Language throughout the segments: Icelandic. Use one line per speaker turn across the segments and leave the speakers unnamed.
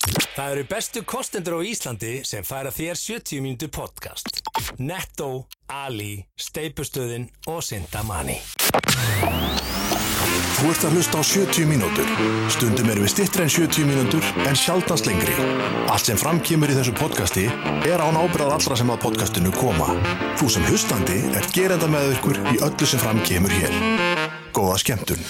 Það eru bestu kostendur á Íslandi sem færa þér 70 mínútu podcast. Netto, Ali, Steipustöðin og Sindamani.
Þú ert að hlusta á 70 mínútur. Stundum erum við stittri en 70 mínútur en sjaldans lengri. Allt sem framkýmur í þessu podcasti er án ábyrðað allra sem að podcastinu koma. Þú sem hlustandi er gerenda með ykkur í öllu sem framkýmur hér. Góða skemmtun.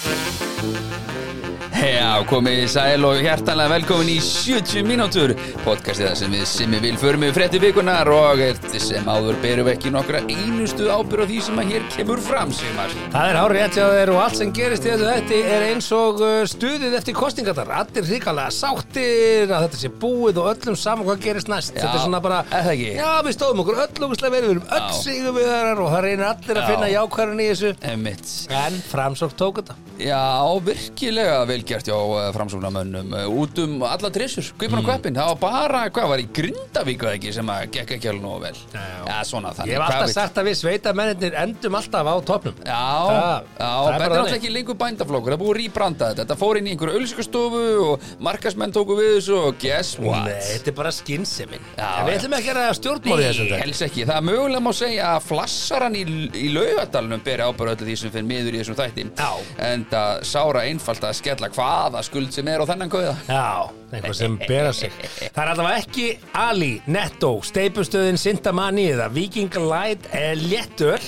Já, komið í sæl og hjertanlega velkomin í 70 mínútur podcastið það sem við simmi vil förum við frétti vikunar og sem áður berum við ekki nokkra einustu ábyrð á því sem að hér kemur fram Sigmar
Það er hár rétt hjá þér og allt sem gerist í þessu þetta er eins og uh, stuðið eftir kostingarnar. Allir hrikalega sáttir að þetta sé búið og öllum saman hvað gerist næst.
Já,
þetta er svona bara,
er það ekki?
já við stóðum okkur öll ógustlega vel, við erum öll
Já.
sigum við þar og það reynir allir að
Já.
finna jákvæðan í þessu.
Emmitt
En framsók tók þetta.
Já, virkilega velgjart hjá eh, framsóknarmönnum eh, út um alla trissur,
Mm.
kvipin og kveppin það var bara, hvað var í Grindavík eða ekki sem að gekk ekki alveg nógu vel
Já.
Já, svona
Ég
þannig
hef
hvað
alltaf
veit-
sagt að við sveitamennir endum alltaf á topnum.
Já,
Það-
já,
það er bara
þetta er alltaf
þannig.
ekki lengur bændaflokkur, það er búið að rýbranda þetta, þetta fór inn í einhverju ölskastofu og markasmenn tóku við þessu og guess what?
Nei, þetta er bara skynsefin
Já,
Við
já.
ætlum ekki að ræða stjórnmál í þessum
Nei,
dag
helst ekki, það er mögulega má segja að flassaran í, í laugadalunum beri ábæra öllu því sem fyrir miður í þessum þætti
Já.
en það sára einfalt að skella hvaða skuld sem er á þennan kauða
Já, einhver sem bera sig Það er allavega ekki Ali, Netto, Steipustöðin, Sintamani eða Viking Light eh, Léttöl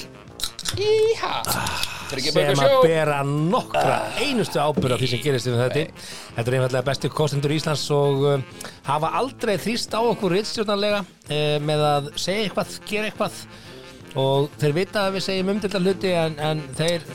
Íha, þetta er ekki
Ah, sem
bökur
að
sjó
bera nokkra einustu ábyrð á því sem gerist um þetta Þetta er einfallega bestu kostendur Íslands og um, hafa aldrei þrýst á okkur rittstjórnarlega uh, með að segja eitthvað, gera eitthvað og þeir vita að við segjum umdelda hluti en, en þeir,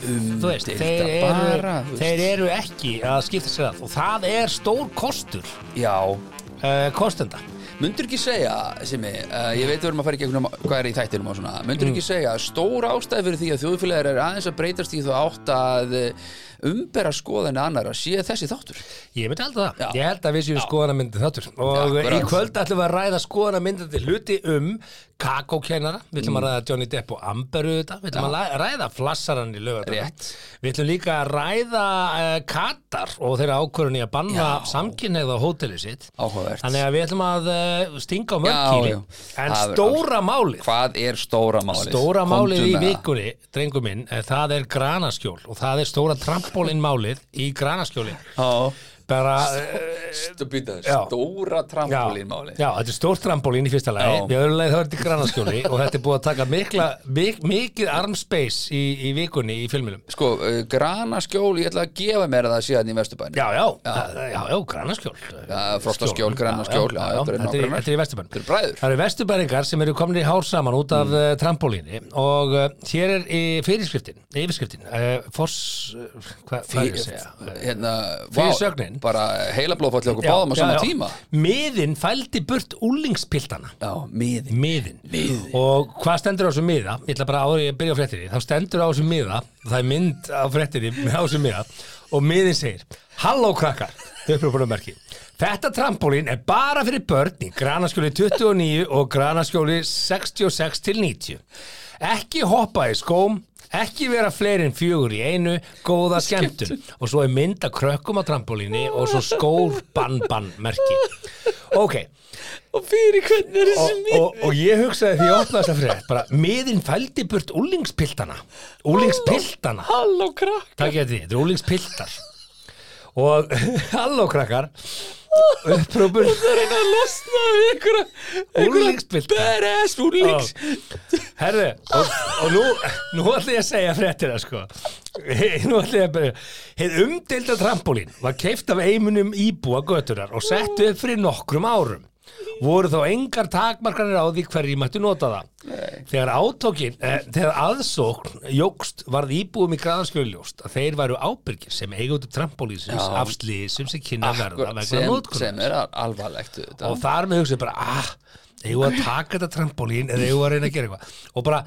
þú veist, þeir
Umdeilda
eru,
bara, þú veist.
þeir eru ekki að skipta sér að og það er stór kostur
Já,
uh, kostenda
Mundur ekki segja, Simmi, uh, ég veit við erum að fara í gegnum hvað er í þættinum og svona, mundur
Mm.
ekki segja að stór ástæð fyrir því að þjóðfélagar er aðeins að breytast í þú átt að eh, umbera skoðinu annara sé þessi þáttur?
Ég myndi held að það,
Já.
ég held að við séum skoðanamyndið þáttur og
Já,
í
akkurat.
kvöld ætlum við að ræða skoðanamyndið hluti um kakókennara, við ætlum að
Mm.
ræða Johnny Depp og Amberu þetta, við ætlum að ræða flassarann í lögur
Rétt.
við ætlum líka að ræða uh, Katar og þeirra ákvörun í að banna
Já.
samkynneið á hóteli sitt
Áhugavert.
þannig að við ætlum að uh, stinga á
Já,
mörkýri
já.
en
Það er-
stóra málið
Hvað er stóra málið?
Stóra málið
Komdu
í
með það.
vikunni, drengu minn, eh, það er granaskjól og það er stóra trampolinn málið í granaskjóli.
Já,
Bara, eh,
Stu- býta,
Já.
stóra
já,
trampolín málið.
já, þetta er stórt trampolinn í fyrsta lagi,
Já.
í öðru lagi þá er þetta í granaskjóli og þetta er búið að taka mikla, mik, mikið armspace í, í vikunni í filminum.
Sko, uh, granaskjól, ég ætla að gefa mér það síðan í vesturbænum.
Já, já, já, já, já granaskjól.
Já, frostaskjól, Granaskjól, já, þetta eru
þetta er,
nágrannar.
þetta er í Vesturbænum.
Þetta eru bræður.
Það eru vesturbæringar sem eru komin í hár saman út af mm. trampolíni og uh, hér er í fyrirskriftin, yfirskriftin, uh, fors, uh, hva, hvað er ég að segja?
Hérna,
Fyrir
vá,
sögnin.
bara heila blóðfalli okkur báðum á
Já,
sama
já, já.
tíma.
Miðin fældi burt úlingspiltana
Já, miði.
Miðin
Miðin.
Og hvað stendur á þessu miða? Ég ætla bara áður en ég byrja á fréttinni Þá stendur á þessu miða Það er mynd á fréttinni á þessu miða Og miðin segir Halló krakkar Upprupunarmerki Þetta trampolín er bara fyrir börn í granaskjóli 29 og granaskjóli 66 til 90 Ekki hoppa í skóm Ekki vera fleiri en fjögur í einu, góða skemmtun og svo er mynd að krökkum á trampolíni og svo skór bann bann merki. Ok,
Og fyrir hvernig er
og, og, og ég hugsaði því ég opnaði þessa frétt bara, miðin fældi burt úlingspiltana úlingspiltana
Halló krakk
takk ég því, þetta er úlingspiltar og halló krakkar upprúpur
reyna að losna við einhverja
Úlingspilta.
Beres úlings
herðu, og, og nú nú ætlum ég að segja fréttina sko nú ætlum ég að byrja hið umdeilda trampolín var keift af eimunum íbúa göturar og sett upp fyrir nokkrum árum voru þá engar takmarkanir á því hverjir mættu nota það þegar átókin, eh, þegar aðsókn jógst varð íbúum í graðanskjöljóst að þeir væru ábyrgir sem eigundu trampolísins
Já.
af slísum sem kynna að verða vegna
Sko, sem,
notkunar
sem er al- alvarlegt auðvitað.
og þar með hugsaði bara ah, eigum við að taka þetta trampolín eða eigum við að reyna að gera eitthvað og bara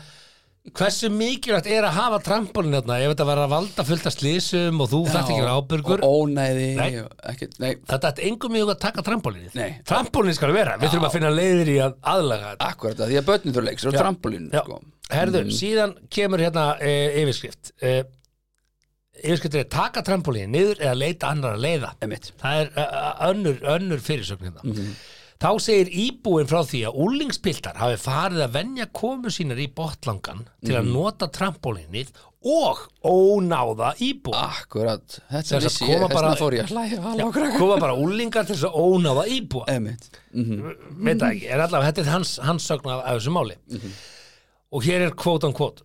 hversu mikilvægt er að hafa trampolín þarna ef þetta var að valda fullt af slísum og þú
Já,
þarft ekki að vera ábyrgur
og ónæði
Nei.
og ekkert, nei,
þetta er engum mjög að taka trampolínið
Nei.
trampolín skal vera, við þurfum að finna leiðir í að aðlaga þetta
akkurat það, því að börnum þurr leiks og trampolín
Já.
sko.
Herðu, síðan kemur hérna e, eh, yfirskrift e, yfirskriftin er taka trampolín niður eða leita annar að leiða
Einmitt.
það er uh, önnur, önnur fyrirsögnin mm þá segir íbúin frá því að úlingspiltar hafi farið að venja komu sínar í botlangan til að nota trampolínið og ónáða
Ah.
íbúin
Akkurat,
Sem
þetta
sagt,
vissi
koma
ég,
bara-
þessna fór ég að hlæja hala og krakka
koma bara úlingar til þess að ónáða íbúa
Einmitt,
veit það ekki, er allavega þetta er hans, hans sögn af, af þessu máli og hér er kvót on kvót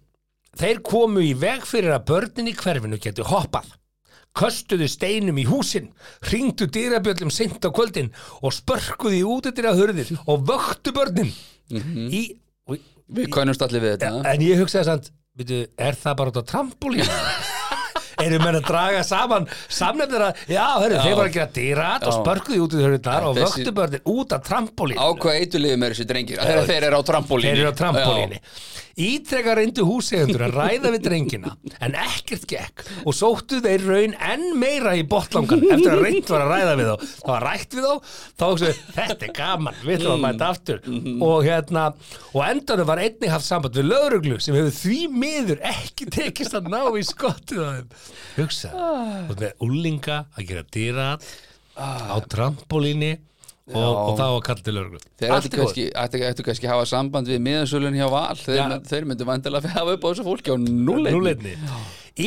þeir komu í veg fyrir að börnin í hverfinu getu hoppað köstuðu steinum í húsin hringdu dýrabjöllum seint á kvöldin og spörkuðu í útidýra hurðir og vöktu börnin í, og,
við konumst allir við þetta
en ég hugsaði samt veitu, er það bara út á trampolín eru menn að draga saman samnefnir að, já, hörru, þeir voru að gera dýrat og
Já.
spörkuðu í útidýra hurðirnar og
Þessi-
vöktu börnin út á trampolín
Á hvað eitulíðum er þessi drengir? Þegar þeir eru á trampolíni
e- Þeir eru á trampolíni Ítrekka reyndu húsegundur að ræða við drengina en ekkert gekk og sóttu þeir raun enn meira í botlangan eftir að reynd var að ræða við þá það var rætt við þá, þá hugsaðu þetta er gaman, við þurfum að mæta aftur og hérna, og endanum var einnig haft samband við lögruglu sem hefur því miður ekki tekist að ná í skottið á þeim hugsaðu, og með úlinga að gera dýrat á trampolíni og, og þá að kalla til lögruglu
Þeir ættu kannski, ættu, ættu kannski hafa samband við miðansölun hjá Val Þeir,
Já.
þeir myndu vandilega hafa upp á þessu fólki á núleitni
núleitni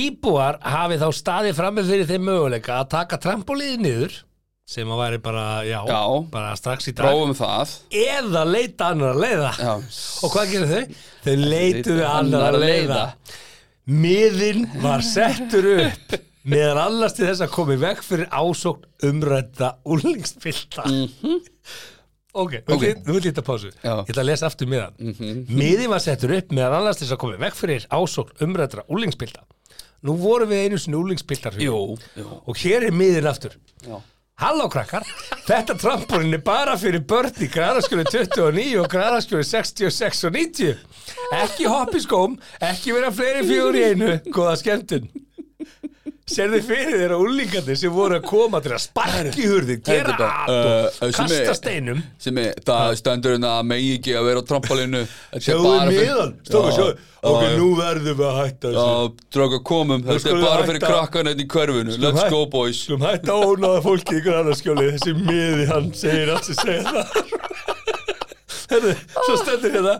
Íbúar hafi þá staðið frammi fyrir þeim möguleika að taka trampolíði niður sem að væri bara, já,
Já.
bara strax í dag
Prófum það
eða leita annar að leiða
Já.
og hvað gerir þau? Þau leituðu annar að leiða miðin var settur upp meðan allast til þess að komi veg fyrir ásókn umrætta úlingspilta Mhm. ok, Mhm.
Ok.
okay. þú vil líta pásu
Já.
ég ætla að lesa aftur miðan miðin var settur upp meðan allast til þess að komi veg fyrir ásókn umrættra úlingspilta nú vorum við einu sinni úlingspiltar Jú.
Jú, jú
og hér er miðin aftur
Já.
Halló krakkar, þetta trampolín er bara fyrir börn í græðarskjölu 29 og græðarskjölu 66 og 90. Ekki hopp í skóm, ekki vera fleiri fjögur í einu, góða skemmtun. Serðu fyrir þér að úlíkandi sem voru að koma til að sparka í hurðin, gera
Þetta er
allt
bara,
og
uh, uh, sem er-
kasta steinum.
sem er, það stendur hérna að megi ekki að vera á trampolínu Þetta er
Sjáðu
bara fyrir-
miðan, stóðu,
Já,
sjáðu, ok,
já,
nú verðum við að hætta
Já,
þessu.
drauga komum, þetta er
skulum
bara fyrir
hætta.
krakkan hérna í hverfinu, let's
hæ-
go boys
Slum hætta að ónáða fólki í græðarskjölu, þessi miði hann segir allt sem segir það. Herðu, svo stendur hérna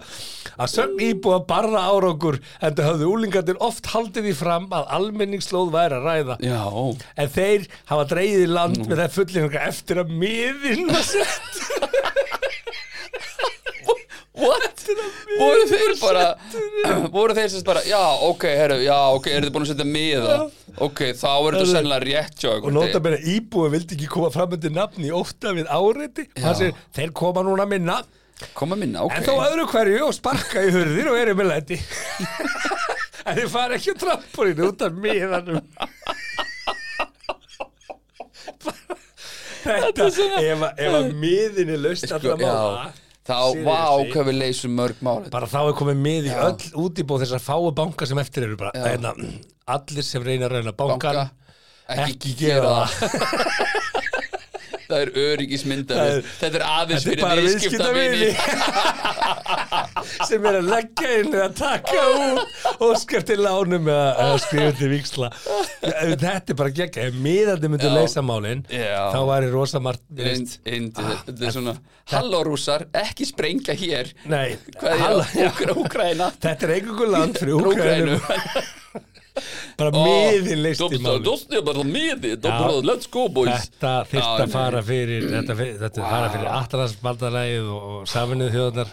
að sögn íbúa barra árangur en það höfðu úlingarnir oft haldið því fram að almenningslóð væri að ræða
Já,
en þeir hafa dreigið í land með það fullinlega eftir að miðin var sett
what? Voru þeir bara, voru þeir sem bara, já, ok, herru, já, ok, eru þið búin að setja miða? Ok, þá er þetta
Herru.
sennilega rétt hjá
og
ykkur
nota meira íbúa vildi ekki koma fram undir nafni óta við áreiti og hann segir þeir koma núna minna
Koma minna, ok
en þó öðru hverju og sparka í hurðir og eru með læti en þeir fara ekki á trampurinn út af miðanum Þetta, ef, að- ef að miðin er laust
Sko,
allra
Já,
mála
þá,
Seriously.
vá, hvað við leysum mörg mál hérna.
bara þá er komið mið í öll útibóð þessar fáu banka sem eftir eru bara, einna, allir sem reyna að reyna bankan
Banka, ekki,
ekki gera
gera það Það er
Það
öryggismyndar
er-
Þetta er aðeins
þetta er
fyrir
bara
viðskipta
viðskiptavini sem er að leggja inn eða taka út óskar til lánum eða, eða skrifa til viksla þetta er bara gegn ef miðandi myndu
Já.
leysa málin
Já.
þá væri rosa margt þú veist, Ah,
Þetta er svona Halló rússar, ekki sprengja hér
nei,
Hvað
halló,
er það? Úkraina
þetta er einhverjum land fyrir
Úkraina
Úkrainum bara miðin leist í málin
Dóttu bara miði
Já.
Dóttu bara, let's go boys
Þetta þyrst
Já,
að fara fyrir þetta, fyr- þetta wow. fara fyrir Atlantspaldalægið og, og safinnið þjóðunar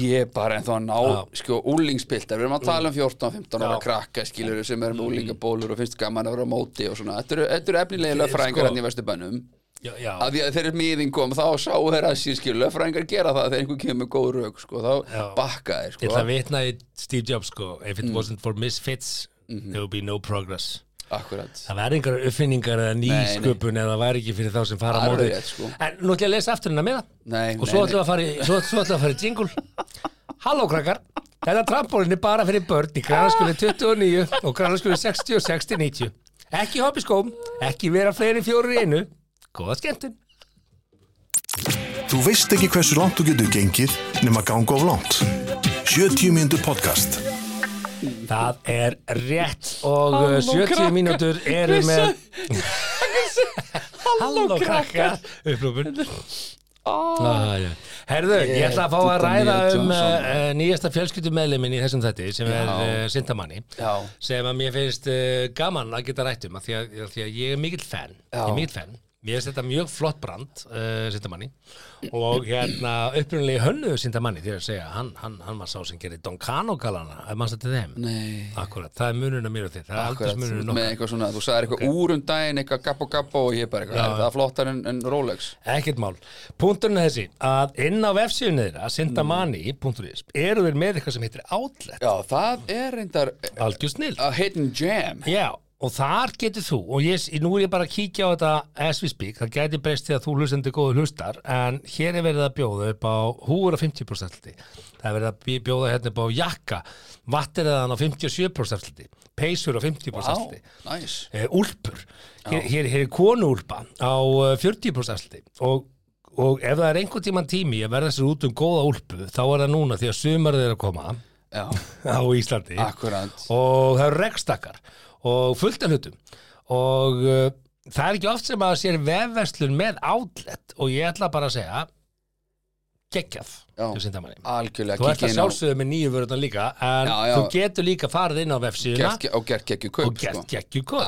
Ég er bara ennþá að ná,
Já.
sko, úlingspiltar Við erum að tala um 14-15 ára
Já. Mm.
krakka skilur sem er með úlingabólur og finnst gaman að vera á móti og svona, þetta eru, þetta eru efnilega
sko-
löffræðingar hann í vesturbænum
Já, já,
að því að þeirri miðin kom þá sáu þeirra að síðan skilur löffræðingar gera það þegar einhver kemur með góð rauk, sko, þá
Já.
bakka þeir,
Ég ætla að
sko, Mm.
vitna í Steve Jobs sko If it wasn't for misfits
Mhm.
There would be no progress
akkurat
Það væri einhverjar uppfinningar eða nýsköpun eða það væri ekki fyrir þá sem fara á
Alveg
móti
rétt, sko.
En nú ætla ég að lesa aftur hérna með það
Nei,
Og
nei,
svo
nei.
ætla að fara í- svo- svo ætla að fara í jingle Halló krakkar Þetta trampolín er bara fyrir börn í grannarskjölu 29 og grannarskjölu 60 og 60 90 Ekki hoppi skóm, ekki vera fleiri en fjórir í einu Góða skemmtun
Þú veist ekki hversu langt þú getur gengið nema ganga of langt. 70 mínútur podcast.
Það er rétt og
Halló,
uh, 70
krakkar.
mínútur eru
Vissu-
með
Halló krakkar
upplöfun
Ó,
Ah,
Herðu, ég ætla að fá að
Dúdda
ræða um
Mía
uh,
Johnson.
uh, nýjasta fjölskyldumeðlimin í þessum þætti sem er
Já.
uh, Sintamanni
Já.
sem að mér finnst uh, gaman að geta rætt um af því að, af því að ég er mikill fan ég
Já.
er mikill fan Mér finnst þetta mjög flott brand, uh, Sintamanni, og hérna upprunalegi hönnuðu Sintamanni, því að segja, hann, hann, hann var sá sem gerir Don Cano galana, ef mannst þetta þeim.
Nei
Akkurat, það er munurinn að mér og þér, það er
Akkurat,
aldursmunurinn
með
nokkuð.
eitthvað svona, þú sagðir eitthvað úr um daginn eitthvað gappo gappo og ég bara eitthvað er það flottar en, en Rolex
Ekkert mál. Punturinn er þessi, að inn á vefsíðunni þeirra, sintamani.is, eru þeir með eitthvað sem heitir Outlet,
já það er reyndar
algjör snill.
a hidden gem
Já, og þar getur þú, og ég, nú er ég bara að kíkja á þetta as we speak, það gæti breyst því að þú hlustandi góðu hlustar, en hér er verið að bjóða upp á húra 50% hluti. Það er verið að bí- bjóða hérna upp á jakka, vatnirðan á 57% hluti, peysur á 50%
á,
hluti.
nice
uh, úlpur hér, hér, hér er konuúlpa á uh, 40% afslætti og, og ef það er einhvern tíman tími að verða sér út um góða úlpu þá er það núna því að sumarið er að koma
já,
á Íslandi
akkurat
og það eru rekstakar og fullt af hlutum og uh, það er ekki oft sem að það sér vefverslun með outlet og ég ætla bara að segja geggjaf
Já.
hjá Syndamanni.
algjörlega
þú ert
kíkja
að
inn á-
sjálfsögðu með nýju vörðan líka en
Já, já.
þú getur líka farið inn á vefsíðuna
gert, og gert geggju kaup
og gert
sko.
geggju góð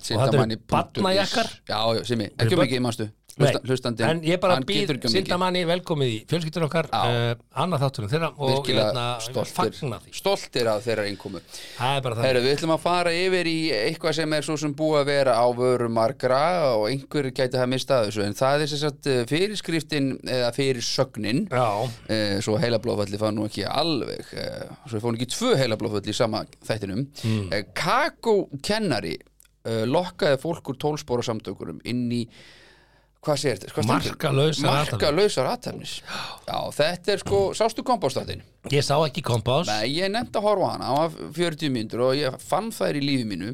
Og þetta eru
sindamanni punktur is.
barnajakkar.
já, já, simmi, ekki
Eru
um ekki, manstu
Nei,
Hlusta- hlustandi,
en ég bara
hann
býð
getur ekki um mikið.
Sindamanni velkomið í fjölskyldur okkar uh,
Já.
annað þátturinn þeirra og
virkilega
hérna, fagna
stoltir
því
stoltir af þeirra innkomu
það er bara það
Heru, við ætlum að fara yfir í eitthvað sem er svo sem búið að vera á vöru margra og einhver gæti það mistað þessu en það er sem sagt eh, fyrirskriftin eða fyrirsögnin
já,
eh, svo heilablóðfalli fann nú ekki alveg eh, svo við fórum ekki tvö heilablóðfalli í sama þættinum mm.
Hmm.
eh, Kakó kennari eh, lokkaði fólk úr tólspóra samtökurum inn í hvað segir þetta? Hvað stendur?
Markalausar athafnir.
Markalausar athafnis Já, þetta er sko, sástu kompástatin?
ég sá ekki kompás
Nei, ég nefndi að horfa á hana, hann var 40 myndur og ég fann þær í lífi mínu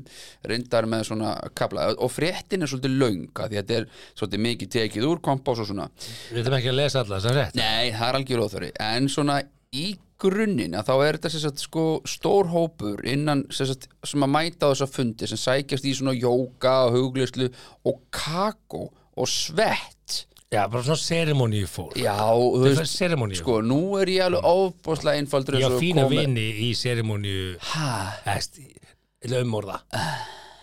reyndar með svona kabla og fréttin er svolítið lönga því að þetta er svolítið mikið tekið úr kompás og svona
við ætlum ekki að lesa alla þessar rétt
Nei, það er algjör óþöri en svona í grunninn að þá er þetta sem sagt, sko, stór hópur innan sem, sagt, sem að mæta á þessa fundi sem sækjast í svona jóka og hugleyslu og kakó og svett
já, bara svona serimóníu fólk
Já, þú
er serimóníu
sko, nú er ég alveg ofbúslega einfaldur
ég
eins
á
og
fína
kom-
vini í serimóníu
Ha?
eðst, laumorða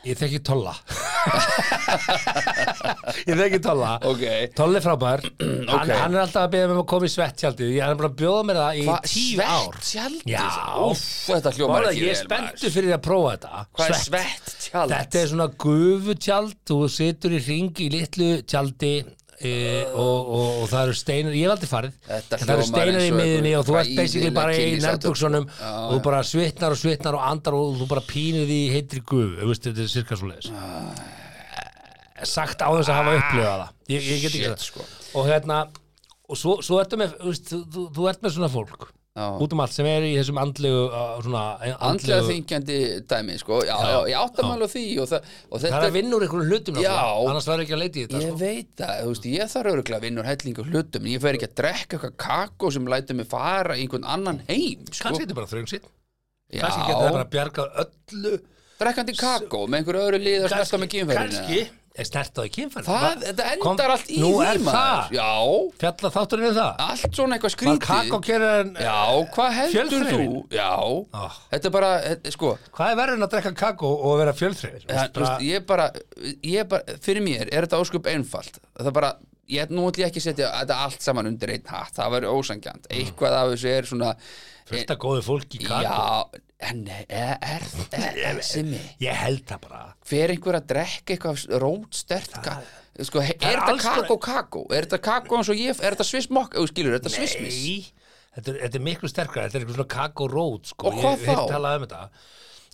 ég þekki tolla ég þekki tolla
Ok.
Tolli frábær, hann,
Ok.
hann er alltaf að beða með að koma í svettjaldið, ég er bara að bjóða mér það í
Hvað,
tíu ár
svett tjaldið?
Já,
Úff, þetta hljómar
Mála,
ekki
Ég er
vel,
spenntu
maður.
fyrir því að prófa þetta
Hvað er svett tjald?
Þetta er svona gufutjald, þú situr í ring í litlu tjaldi e, og, og, og, það eru steinar, ég hef aldrei farið
Ah. Þetta
en það eru
hljómar
steinar
eins
í
og
miðinni
einhver
og þú ert basically
hræðileg sko.
bara í
kynlífsathöfn.
nærbuxunum og þú bara svitnar og svitnar og andar og þú bara pínir því í heitri gufu, þú veist, þetta er cirka svo leiðis
Ah.
sagt á þess að hafa upplifað það ég, ég get ekki
Shit,
það
sko.
og hérna, og svo, svo ertu með þú, veist, þú, þú, þú ert með svona fólk
Já.
út um allt sem er í þessum andlegu uh, svona, eh,
Andlega
andlegu,
þingjandi dæmi, sko Já, já, ég áttamála því og, það, og þetta
það er að vinna úr einhverjum hlutum
Já.
náttúrulega, annars verður ekki að leita í þetta
Ég
sko.
veit það, þú veist, ég þarf öruglega að vinna úr hellingu hlutum en ég fer ekki að drekka eitthvað kakó sem lætur mig fara í einhvern annan heim sko.
kannski þetta er bara þröng sitt
Já,
kannski getur það bara að bjarga öllu
drekkandi kakó með einhverju öðru lið að snerta með kynferðinu
kannski, er snertaði kynfærin
Það, þetta endar allt í
nú
því
er
maður.
það,
Já,
fjalla þátturinn um það
allt svona eitthvað
var
skrítið
kakó gerir en
Já, hvað heldur þú?
Fjölþreifin.
Já,
Ah.
þetta er bara, eh, sko
hvað er verður en að drekka kakó og vera fjölþreifir
Það, þú veist, ég bara, ég bara, fyrir mér er þetta ósköp einfalt það bara, ég, nú ætlum ég ekki að setja þetta allt saman undir einn hatt, það verður ósangjant
Mm.
eitthvað af þessu er svona
fullt að góðu fólki í kakó
já, en er, er, er, er simmi,
Ég held það bara
fer einhver að drekka eitthvað rótstert ka, sko, he-
er
er
alls konar-
þetta kakó kakó er þetta kakó eins og ég, er þetta svissmokk eða skilur, er þetta svissmis
Nei, þetta er, þetta er miklu sterkara Þetta er eitthvað svona kakó rót sko.
Og hvað
Ég hef
þá?
talað um þetta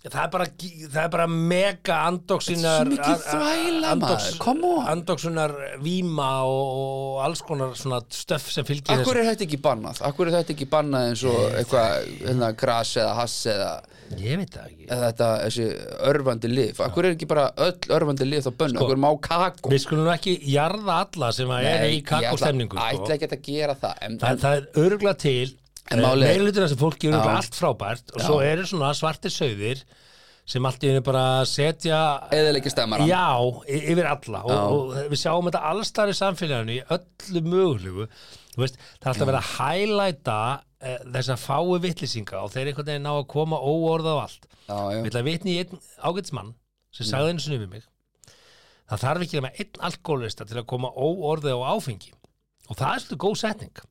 Það er bara, gí- það er bara mega andóksinar
Þetta er svo mikið þvæla, maður. Come on.
Andóksinar víma og, og alls konar svona stöff sem fylgir
Akkur er þetta ekki bannað? Akkur er þetta ekki bannað eins og eitthvað, hérna, gras eða hass eða
þessu Ég veit það ekki
eða þetta, þessi örvandi lif Akkur er ekki bara öll örvandi lif þá bönnu Akkur má kakó
Sko, Við skulum nú ekki jarða alla sem að er í
Nei, ég ætla-
kakóstemningu
Ætla
sko.
ekki að gera það en,
það, það er örgla til eh,
En málið er-
meirlutina sem fólk gerur
Já.
allt frábært og svo eru svona svartir sögðir sem allt í henni bara setja
eða leikir stemmara
já, y- yfir alla og, og við sjáum þetta allstar í samfélaginu í öllu mögulegu Þú veist, það er alltaf verið að hælæta eh, þessa fáu vittlýsinga og þeir einhvern veginn ná að koma óorða á allt
já,
Ég
já.
ætla að vitni í einn ágætsmann sem sagði einu sinni við mig Það þarf ekki nema einn alkoholista til að koma óorðið á áfengi og það er svolítið góð setning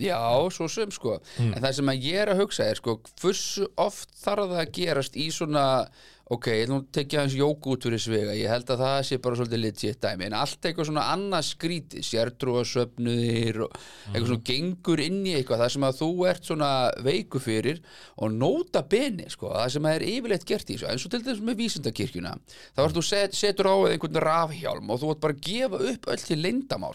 já svo sem sko en það sem að ég er að hugsa er sko hversu oft þarf það að gerast í svona ok, ég ætla nú að tekja hans jók út fyrir svega ég held að það sé bara svolítið legit dæmi en allt eitthvað svona annað skríti sértrúasöfnuðir og eitthvað svona gengur inn í eitthvað það sem að þú ert svona veiku fyrir og nota beni sko, það sem að er yfirleitt gert í þessu eins og til dæmis með vísindakirkjuna þá er þú set, setur á þig einhvern rafhjálm og þú ert bara að gefa upp öll til leyndamál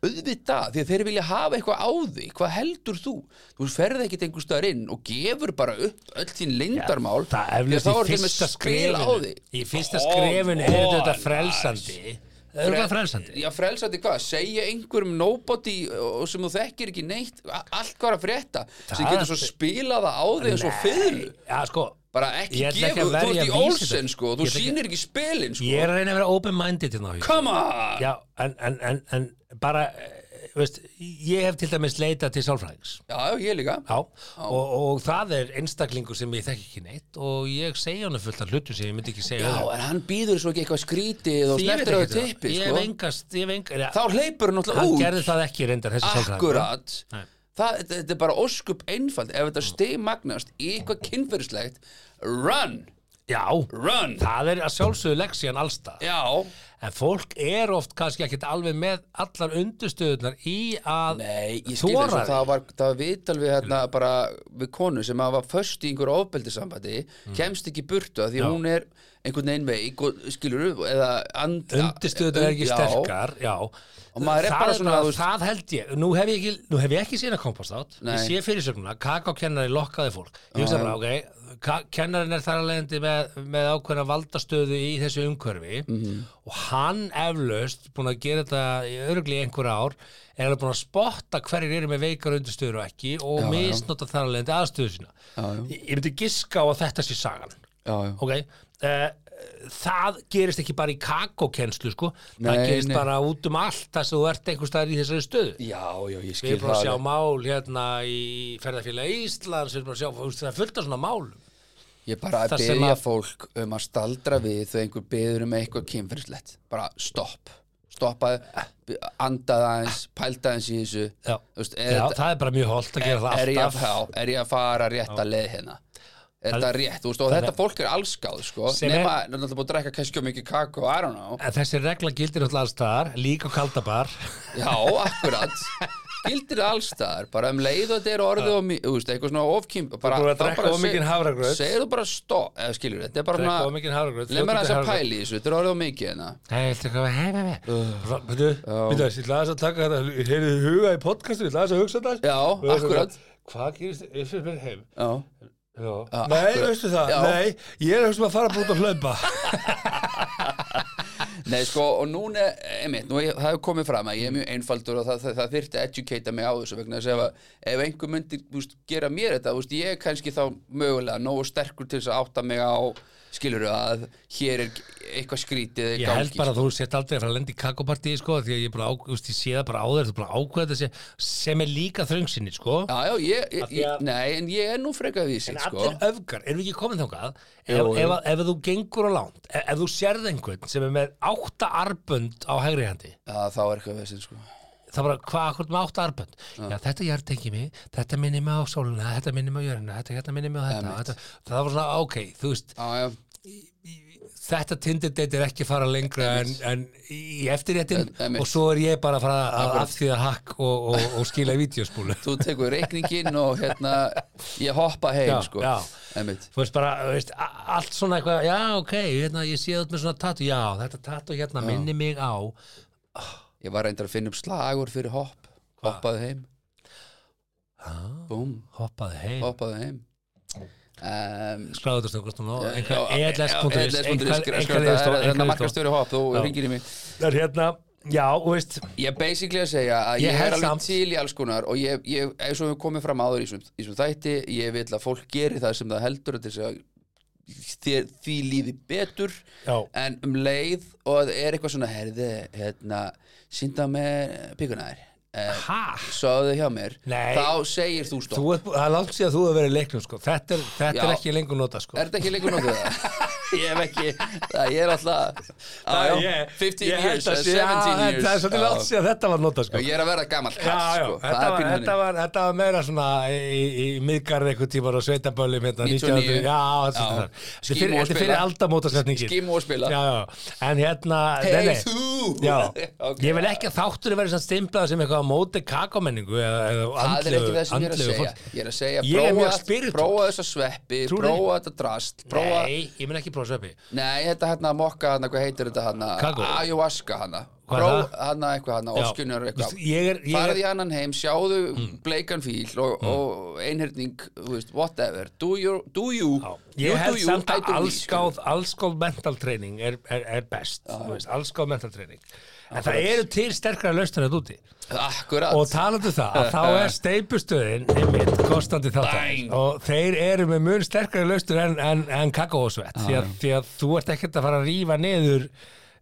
auðvitað, því að þeir vilja hafa eitthvað á þig, hvað heldur þú þú ferð ekkit einhver staðar inn og gefur bara upp öll til leyndarmál
Það
því
eflust
að þá
í
er þeim að
fyrsta
spila á
skrefinu
þig
Í fyrsta
Oh,
skrefinu er
oh,
þetta
nice.
frelsandi Það er hvað frelsandi
Já, frelsandi hvað? Segja einhverjum nobody og sem þú þekkir ekki neitt a- allt hvað er að frétta sem
Það-
getur svo spilað það á þig eins og fyrr
Já sko
bara ekki
Ég ætla ekki að
gefa, þú
verja
ert í
vísindin.
Olsen sko þú
Ég ætla ekki-
sýnir ekki spilin sko
Ég er að reyna að vera open-minded hérna á því.
come on
Já, en, en, en, en bara eh, veist, ég hef til dæmis leitað til sálfræðings
já, ég líka
Já, og, og það er einstaklingur sem ég þekki ekki neitt og ég segja hann fullt af hlutum sem ég myndi ekki segja
já,
öðrum.
en hann býður svo ekki eitthvað skrítið og
Því ég veit
snertir á
ekki það.
tippi
Ég
sko
vengast, ég vengast
þá hleypur hann
Hann
alltaf
gerði
út
það ekki reyndar þessi sálfræðingur.
akkurat
Nei.
Það, þetta- þetta er bara óskup einfald ef þetta steimagnast í eitthvað kynferðislegt run,
Já,
run
það er að sjálfsögðu leksían allstað
já,
En fólk er oft kannski ekkit alveg með allar undurstöðunar í að
Nei, ég skil þess
Þora
að það var, það var vital við hérna bara við konu sem að var först í einhverju ofbeldisambandi kemst ekki í burtu af því
Mm. Já.
hún er einhvern veginn veik og skilur upp eða and,
undirstöðunar er ekki
Já,
sterkar já.
Og maður er
það,
bara svona, þú veist-
það held ég, nú hef ég ekki, nú hef ég ekki sína kompastátt,
Nei.
ég sé fyrirsögnuna kakókennari lokkaði fólk ég hugsa bara, ok, ka- kennarin er þar að leiðandi með, með ákveðna valdastöðu í þessu umhverfi
Mhm.
og hann eflaust, búin að gera þetta örgli einhver ár, er alveg búin að spotta hverjir eru með veikar undirstöður og ekki og misnota þar að leiðandi aðstöðu sína
já.
Ég, ég myndi giska á að þetta sé sagan
Já, já.
ok uh, það gerist ekki bara í kakókennslu sko. það
Nei,
gerist
nei.
bara út um allt þess að þú ert einhver staðar í þessari stöðu
já, já, ég
við
skil
erum bara að sjá
alveg.
mál hérna í ferðarfélag Íslands við erum bara að sjá, þú veist, það er fullt af svona mál
ég bara
það
að
sem
byrja
að-
fólk um að staldra við þegar einhver byður um eitthvað kynferðislegt bara stopp, stoppaði b- andaði aðeins, pældaði aðeins í þessu
já,
Þú veist, er
já
þetta-
það er bara mjög holdt að gera það
er ég, að,
alltaf
já, er ég að fara rétt að leið hérna er þetta rétt, þú veist, og þetta fólk er allskáð sko,
Sem er-
nema, er náttúrulega búið að drekka kannski of mikið kakó, I don't know
en þessi regla gildir alltaf allstaðar líka á kaldabar
já, akkurat, gildir allstaðar bara um leið og þetta er orðið og mi- þú veist, eitthvað svona ofkým bara,
Þú búin að
þá
drekka
bara
of mikinn
seg-
hafragraut.
segir þú bara stopp, eða skilur þetta er bara
Drekka of
svona,
mikinn hafragraut,
leið mér
fljótandi
aðeins að
hafragraut.
pæli í þessu þetta er orðið of mikið hérna
Nei, þetta er eitthvað hei, hei, hei Býtu, býtu, ég ætla aðeins að taka þetta Ég heyrði huga í podcastinu, ég ætla aðeins að hugsa þetta
Já,
Og ég hugsa,
akkurat.
Hvað gerist, ég fyrir mér heim
já,
Já.
Já,
Nei,
akkurat.
veistu það,
Já.
nei, ég er hugsa að fara bara út að hlaupa
nei sko, og núna einmitt, nú ég, það hefur komið fram að ég er mjög einfaldur og það, það, það þyrfti að educata mig á þessu vegna þess ef, að, ef einhver myndi úst, gera mér þetta, úst, ég er kannski þá mögulega nógu sterkur til þess að átta mig á skilur að hér er eitthvað skrítið í
Ég held
gangi, sko.
bara að þú sett aldrei að fara að lenda í kakópartíi sko, því að ég, bara, ák- þú veist, ég sé það bara á þér þú bara ákveða þessi sem er líka þröngsinni sko.
Já, já, ég,
Af
ég,
því að-
ég, nei, en ég er nú frekar því
en
sitt, sko.
allir öfgar, erum við ekki komin þangað ef,
Jú, jú.
ef, að- ef þú gengur á langt e, ef, ef þú sérð einhvern sem er með átta arbönd á hægri hendi
Já, þá er eitthvað vesinn, sko.
það bara, hvað, hvort með átta arbönd já, þetta jartengi mig, þetta minni mig á sóluna þetta minni mig á jörina, þetta, þetta minni mig á þetta,
Einmitt.
þetta það var svona, ok, þú veist
Já, já,
þetta Tinder date er ekki að fara lengra en, en í eftirréttin
Einmitt.
og svo er ég bara að fara að afþýða hakk og, og, og skila í vídeospúlu
þú tekur reikningin og hérna, ég hoppa
Já,
heim, sko.
já.
Einmitt.
þú veist bara, þú veist, a- allt svona eitthvað já, ok, hérna, ég sé þetta með svona tattu já, þetta tattu hérna minni mig á
Ég var reyndar að finna upp slagur fyrir hopp. Hoppaði heim. Búm,
hoppaði heim,
hoppaði heim. Um,
skráðu þetta snöggvast og
já,
Sko,
eh,
einhver
já,
ELS.is
ELS.is,
einhver-
sko,
einhver-
það er-
einhver-
Þannig að markastjóri hopp, þú
Já.
ringir í mig.
Það er hérna Já, og veist,
Ég er basically að segja að
Ég
ég,
held
er alveg
samt-
til í alls konar og ég, ég eins og við komum fram áður í þessum, í þessum þætti, ég vil að fólk geri það sem það heldur til þess að þér, því líði betur
Já.
en um leið og það er eitthvað svona herði, hérna, sínda með píkunar eh,
ha?
svoðu hjá mér
Nei.
þá segir þú stopp
Þú er, það er langt síðan þú hefur verið í leiknum, sko. Þetta er, þetta er
Já.
ekki lengur nota, sko.
Er þetta ekki lengur nokkuð það? ég hef ekki, það, ég er alltaf á, já,
Ég-
15
ég held
years,
að
eh,
sé-
17
já,
years
Það er svolítið langt
já,
síðan þetta var nota, sko.
ég er að vera gamall
Já,
kall
já,
sko. það
þetta,
er
var,
pínu þannig.
þetta, var, þetta var meira svona í, í, í miðgarð eitthvað tímar á sveitaböllum hérna,
99.
1900, já, þetta er
Já.
það. Þetta er fyrir-
Skímó að
þetta er fyrir
spila.
aldamótasetningin.
Skímó að spila.
Já, já, en hérna,
Hey,
nei, nei.
þú!
Já,
Ok.
ég vil ekki að þáttur verið svona stimplað sem eitthvað á móti kakomenningu eða, eða
það er ekki
andlegu,
það sem ég er að
andlegu
segja
fólk.
ég er að segja,
Ég er mjög
prófa,
spiritual.
prófa þessa sveppi
Trúir.
prófa þetta drast prófa, nei.
Nei, ég mun ekki prófa sveppi.
þetta hérna mokka hérna, hvað heitir þetta
Kakó.
hérna ayahuasca hérna
Hvað er það?
hérna eitthvað hérna,
Já.
ofskunjar eitthvað
Þú veist, ég er- ég Mm. er-
farði í annan heim, sjáðu bleikan fíl og, og einhyrning þú veist, whatever, do you, do you
Já,
you
ég held
do you,
samt
I
að
do me,
allsgáð, allsgáð mental training er, er, er best, þú veist, allsgáð mental training en það eru til sterkara lausnir að úti
skilur. akkurat
og talandu um það, að þá er steipustöðin einmitt kostandi þáttar
Bang!
og þeir eru með mun sterkari lausnir en, en, en kakósvett því, að- því að þú ert ekkert að fara að rífa niður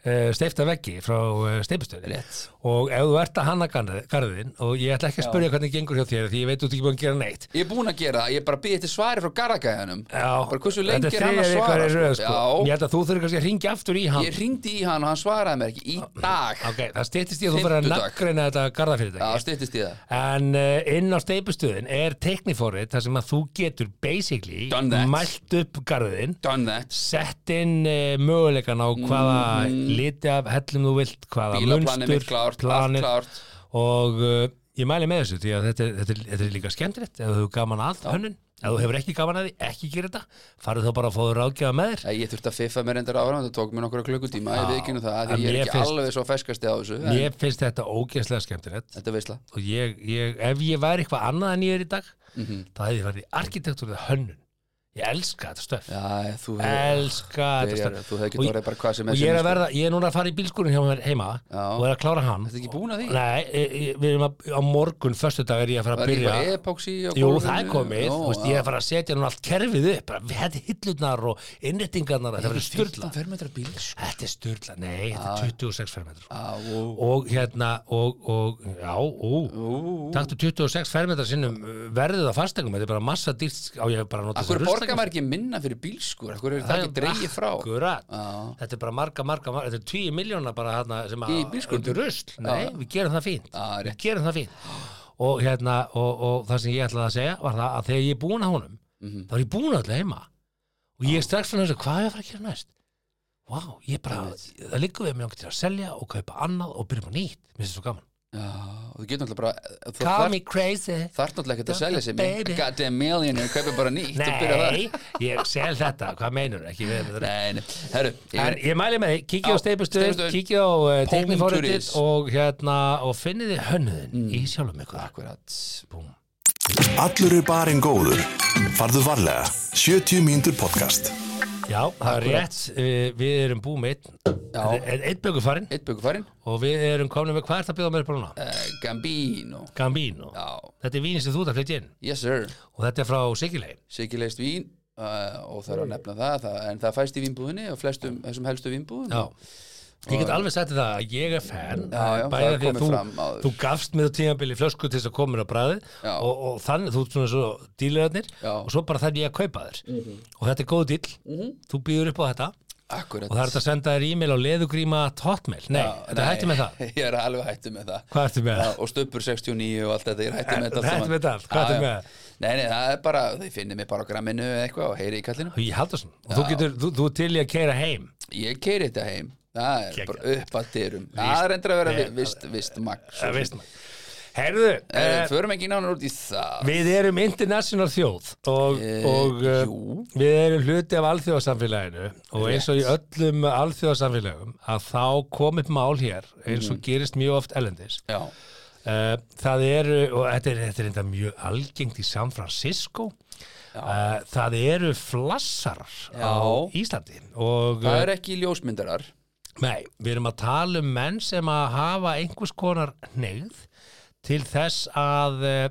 uh, steifta veggi frá uh, steipustöðin
Rétt.
og ef þú ert að hanna garð- garðin og ég ætla ekki að spyrja hvernig gengur hjá þér því ég veit þú ert ekki búin að gera neitt
Ég er búin að gera það, ég er bara býðið til svari frá garagæðanum
Já,
Bara hversu lengi er hann að
Þetta
svara
er þriðja vikan í röð, sko. Ég
Já,
held að þú þurfir kannski að ringja aftur í hann
ég ringdi í hann og hann svaraði mér ekki Í dag,
Ok, það styttist ég að þú fyrir að
Fimmtudag.
naggreina þetta
já,
garðafyrirtæki
styttist í það
En uh, inn á steipustuðin er tekniforrið þar sem að þú getur basically
Done that.
mælt upp garðin
Done that
sett inn uh, möguleikan á hvaða liti af hellum þú vilt hvaða
Mm. Bílaplanið mitt
munstur,
klárt, allt
planið
klárt
og uh, ég mæli með þessu því að þetta, er- þetta, er- þetta er líka skemmtilegt ef þú hefur gaman að hönnun ef þú hefur ekki gaman að því, ekki gera þetta farið þá bara að fá þú ráðgjafa með þér
Æ, Ég þurfti að fiffa mér endur ára, það tók mér nokkra klukkutíma Ég viðkynnu það,
en
því ég
mér
er ekki
finnst-
alveg svo feskasti á þessu en
Mér finnst þetta ógeðslega skemmtilegt
Þetta er veistla
og ég, ég, ef ég væri eitthvað annað en ég er í dag
Mhm.
þá hefði ég farið í arkitektur eða hönnun ég elska þetta stöf
Já, þú hefur
elska þetta
byrjar-
stöf
þú hefur ekki
Og-
orðið bara hvað sem
og
er
ég er,
sem
að verða, ég er núna að fara í bílskúrin hjá mér heima
Já.
og er að klára hann
Þetta ekki búin að því?
Nei, ég, ég, við erum að, á morgun, föstudag er ég að fara að
Það er
byrja
eitthvað epoxy á
Jú,
gólfinu?
það er komið,
Nó,
þú veist,
já.
ég er að fara að setja núna allt kerfið upp, bara við hætti hillurnar og innrettingarnar, þetta verður sturla
15 fermetra bíl sko.
Þetta er sturla, nei, þetta er 26 fermetrar sko.
Já, og-
og hérna og, og já, ú taktu 26 fermetra sinnum uh, verðið á fastegum, þetta er bara massa dýrt á ég hef bara nota
Akkur borgar maður ekki minna fyrir bílskur Akkur er það ekki dreigið frá
Akkurat,
Já.
þetta er bara marga, marga, marga þetta er 20 miljóna bara hérna sem að
Í bílskúrnum?
undir rusl, nei, við gerum það fínt
Já,
við
rétt.
gerum það fínt og hérna, og, og það sem ég ætlaði að segja var það að þegar ég er búin að honum
Mhm.
þá er ég búin að allir heima og ég er strax fyrir þessu, hvað er ég að fara að gera næst? Vá, ég bara, það liggur við að mér langar til að selja og kaupa annað og byrja upp á nýtt, mér finnst það svo gaman
Já, og þú getur náttúrulega bara eh, þú
Call
þarf,
me crazy
þarf náttúrulega ekkert að
Don't
selja
be
sér
baby.
mig Goddamn millionaire, kaupir bara nýtt og byrja það
Nei, ég sel þetta, hvað meinur ekki við þetta
Nei, nei, herru ég
En
er-
ég mæli með því, kikið á
Já,
steipustuð,
steypustuð.
kikið á uh, tekniforritið
Punkturins.
og, hérna, og finnið þið hönnuðin í sjálfum ykkur.
Mm. Akkurat
Búm.
Allur er barinn góður. Farðu varlega. 70 mínútur podcast.
Já, það er rétt, uh, við erum búið með einn,
Já.
Þetta er einn bjögur farinn
Eitt byggu farin
og við erum komin með hvað er það að bjóða mér upp á núna?
uh, Gambino
Gambino.
Já,
Þetta er vínin sem þú ert að flytja inn
yes sir
og þetta er frá Sigilegi.
Sigilegst vín uh, og það er að nefna það, það En það fæst í vínbúðinni og flestum þessum helstu vínbúðum
Já. Ég get alveg sagt þér það að ég er fan
Já, já, það
bæði
er
því að
komið fram
þú,
áður.
þú gafst með tímabili flösku til þess að koma mér á bræði
Já.
og, og þannig þú ert svona svo dílaðarnir
Já.
og svo bara þannig ég að kaupa þér og þetta er góð díl, þú býður upp á þetta
Akkurat
og það er þetta að senda þér e-mail á leðugríma hotmail, nei, þetta
Nei,
hættu með það
Ég er alveg hættu með það
hvað ertu með
Já,
það?
og stöpur 69 og allt þetta, ég er hættu með þetta
Hættu
allt saman.
með þetta allt, hvað
Já,
ertu
já.
með?
Nei, nei, það er bara, þið finnir mig bara á gramminu eða eitthvað og heyri í kallinu
Hugi Haldarsson, og þú getur, þú, þú er til í að keira heim
Ég keiri þetta heim, það er
Kekja.
bara upp að dyrum Það er endur að vera vi- vist, vist maks
það veist maður Herðu, eh,
Eh, Förum ekki nánar út í það
Við erum international þjóð og,
Eh,
og eh,
jú.
við erum hluti af alþjóðasamfélaginu og eins og í öllum alþjóðasamfélagum að þá kom upp mál hér eins og
Mhm.
gerist mjög oft ellendis.
Já,
Uh, það eru, og þetta er, þetta er enda mjög algengt í San Francisco, uh, það eru flassarar á
Já.
Íslandi og
það er ekki ljósmyndarar
Nei, við erum að tala um menn sem að hafa einhvers konar neyð til þess að eh,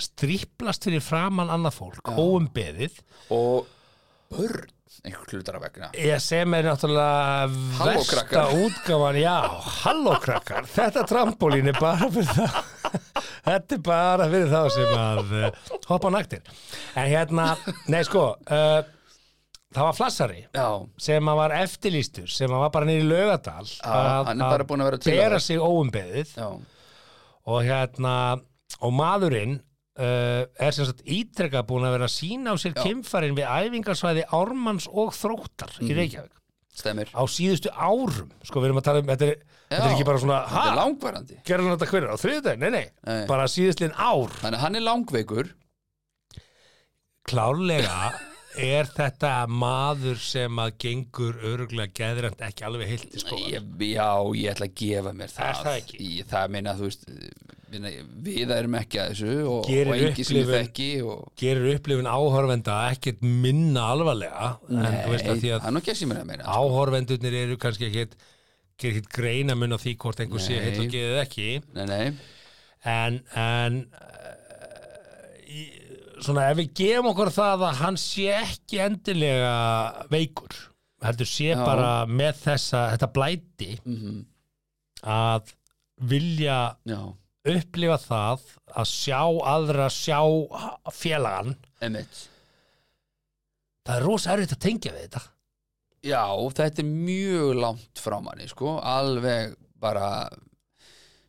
stríplast fyrir framann annað fólk, óumbeðið
og börn einhver hlutara vegna
Ég sem er náttúrulega
Halló,
versta
krakkar.
útgáfan, já, hallókrakkar, þetta trampolín er bara fyrir það, þetta er bara fyrir þá sem að uh, hoppa á naktir. En hérna, nei sko, uh, það var flassari
já,
sem að var eftirlýstur, sem að var bara niður í laugadal að,
hann er bara búinn að vera til að
bera
vera.
sig óumbeðið
já,
og hérna, og maðurinn Uh, er sem sagt ítrekka búin að vera að sína á sér kemfarin við æfingarsvæði Ármanns og Þróttar
Mhm.
í Reykjavík
stemir
á síðustu árum sko við erum að tala um, þetta er, þetta er ekki bara svona
þetta er
ha,
langvarandi
gerðan þetta hverju á þriðudaginn, nei, nei,
Nei.
bara síðustlinn ár
þannig að hann er langveikur
klárlega er þetta maður sem að gengur öruglega geðrænt ekki alveg heilt í sko
ég, já, ég ætla að gefa mér það
Er það ekki?
Ég, það meina, þú veist minna, við erum ekki að þessu og,
Gerir
og engi sem ég
upplifun-
þekki og
gerir upplifin áhorfenda ekkert minna alvarlega en þú veist að því
Nei,
að
hann og ekki að sem ég er að meina
áhorfendurnir eru kannski ekkert gerir ekkert greina mun á því hvort einhver sé
Nei.
heitt og geðið ekki
nei, nei,
en, en uh, í, svona ef við gefum okkur það að hann sé ekki endilega veikur heldur sé
Já.
bara með þessa þetta blæti að vilja
já,
upplifa það að sjá aðra sjá félagan
emitt
það er rosa erfitt að tengja við þetta
já, þetta er mjög langt frá manni, sko, alveg bara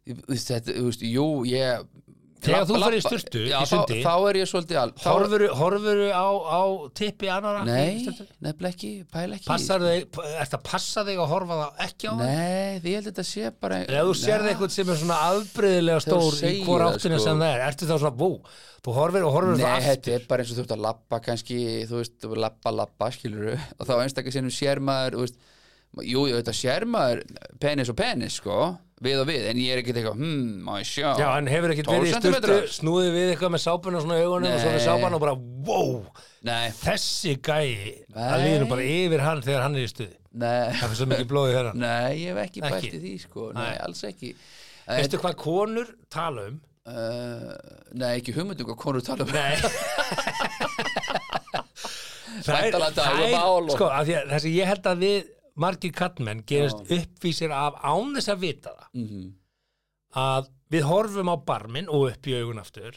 þú veist, þetta, þú veist, jú, ég
Þegar þú
labba-
ferð í sturtu
já,
í sundi,
þá, þá er ég svolítið al, þá,
horfuru, horfuru á, á tippi annara
nei, nefnileg ekki, pæl ekki
Passar þig, ert að passa þig að horfa það ekki á það?
nei, því ég held að þetta sé bara
Ef þú sérði eitthvað sem er svona afbreyðilega stór í
segir
hvora
það,
áttina
sko.
sem það er, ertu þá svona, vú, þú horfir og horfir
Nei,
það aftur.
þetta er bara eins og þú ert að labba kannski, þú veist, þú labba, labba, skilur og þá einstakar sinnum sér maður, þú veist jú, jú, þetta sér maður penis og penis, sko, við og við en ég er ekkert eitthvað, hmm, má ég sjá
Já, en hefur ekkert
12
verið í sturtu,
sentimetrar.
snúðið við eitthvað með sápuna svona í augunum og svo við
Nei.
sápan og bara, vó,
Nei,
þessi gæi, það
Nei.
líður nú bara yfir hann þegar hann er í stuði.
nei,
Það fyrir svo mikið blóðið hérna.
nei, ég hef ekki
Ekki.
bælt í því, sko nei,
Nei.
alls ekki
Veistu hvað konur tala um?
uh, Nei, ekki hugmyndum hvað konur tala um
Nei. Þær-
Væntanlega dagur
þær-
mál og-
sko, af því að þessi ég held að við margir kattmenn gerast uppvísir af án þess að vita það
Mhm.
að við horfum á barminn og upp í augun aftur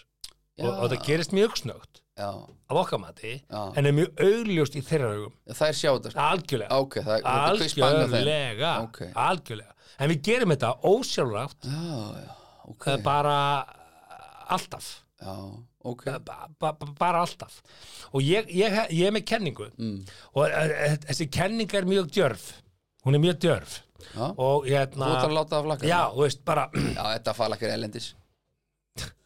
og, og það gerist mjög snögt
Já,
af okkar mati
Já.
en er mjög augljóst í þeirra augum
það er sjá þetta, sko
algjörlega,
Ok, það er þetta er quiz bang á þeim.
algjörlega,
Ok.
algjörlega en við gerum þetta ósjálfrátt
Já, já, ok
okay. bara alltaf
Já, ok
ba ba ba- bara alltaf og ég, ég, ég er með kenningu
Mm.
og eh, eh, þessi kenning er mjög djörf hún er mjög djörf
Já.
og hérna
Þú ert að láta það flakka
já, þú veist, bara
já, þetta fala ekki elendis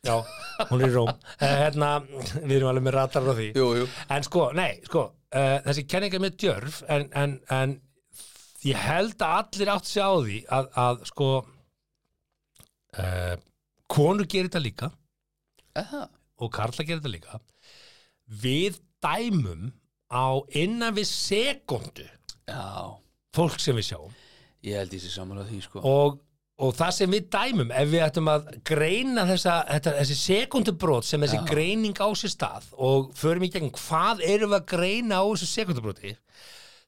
já, hún er í róm Eh, hérna, við erum alveg með ratar á því
Jú, jú
en sko, nei, sko uh, þessi kenning er mjög djörf en, en, en ég held að allir átt sig á því að, að sko uh, konur gerir þetta líka
Aha.
og Karla gerir þetta líka við dæmum á innan við sekundu
Já,
fólk sem við sjáum
ég held ég sér samanlega því sko
og, og það sem við dæmum ef við ættum að greina þessa, þetta, þessi sekundubrót sem þessi
Já.
greining á sér stað og förum í gegn hvað erum við að greina á þessu sekundubróti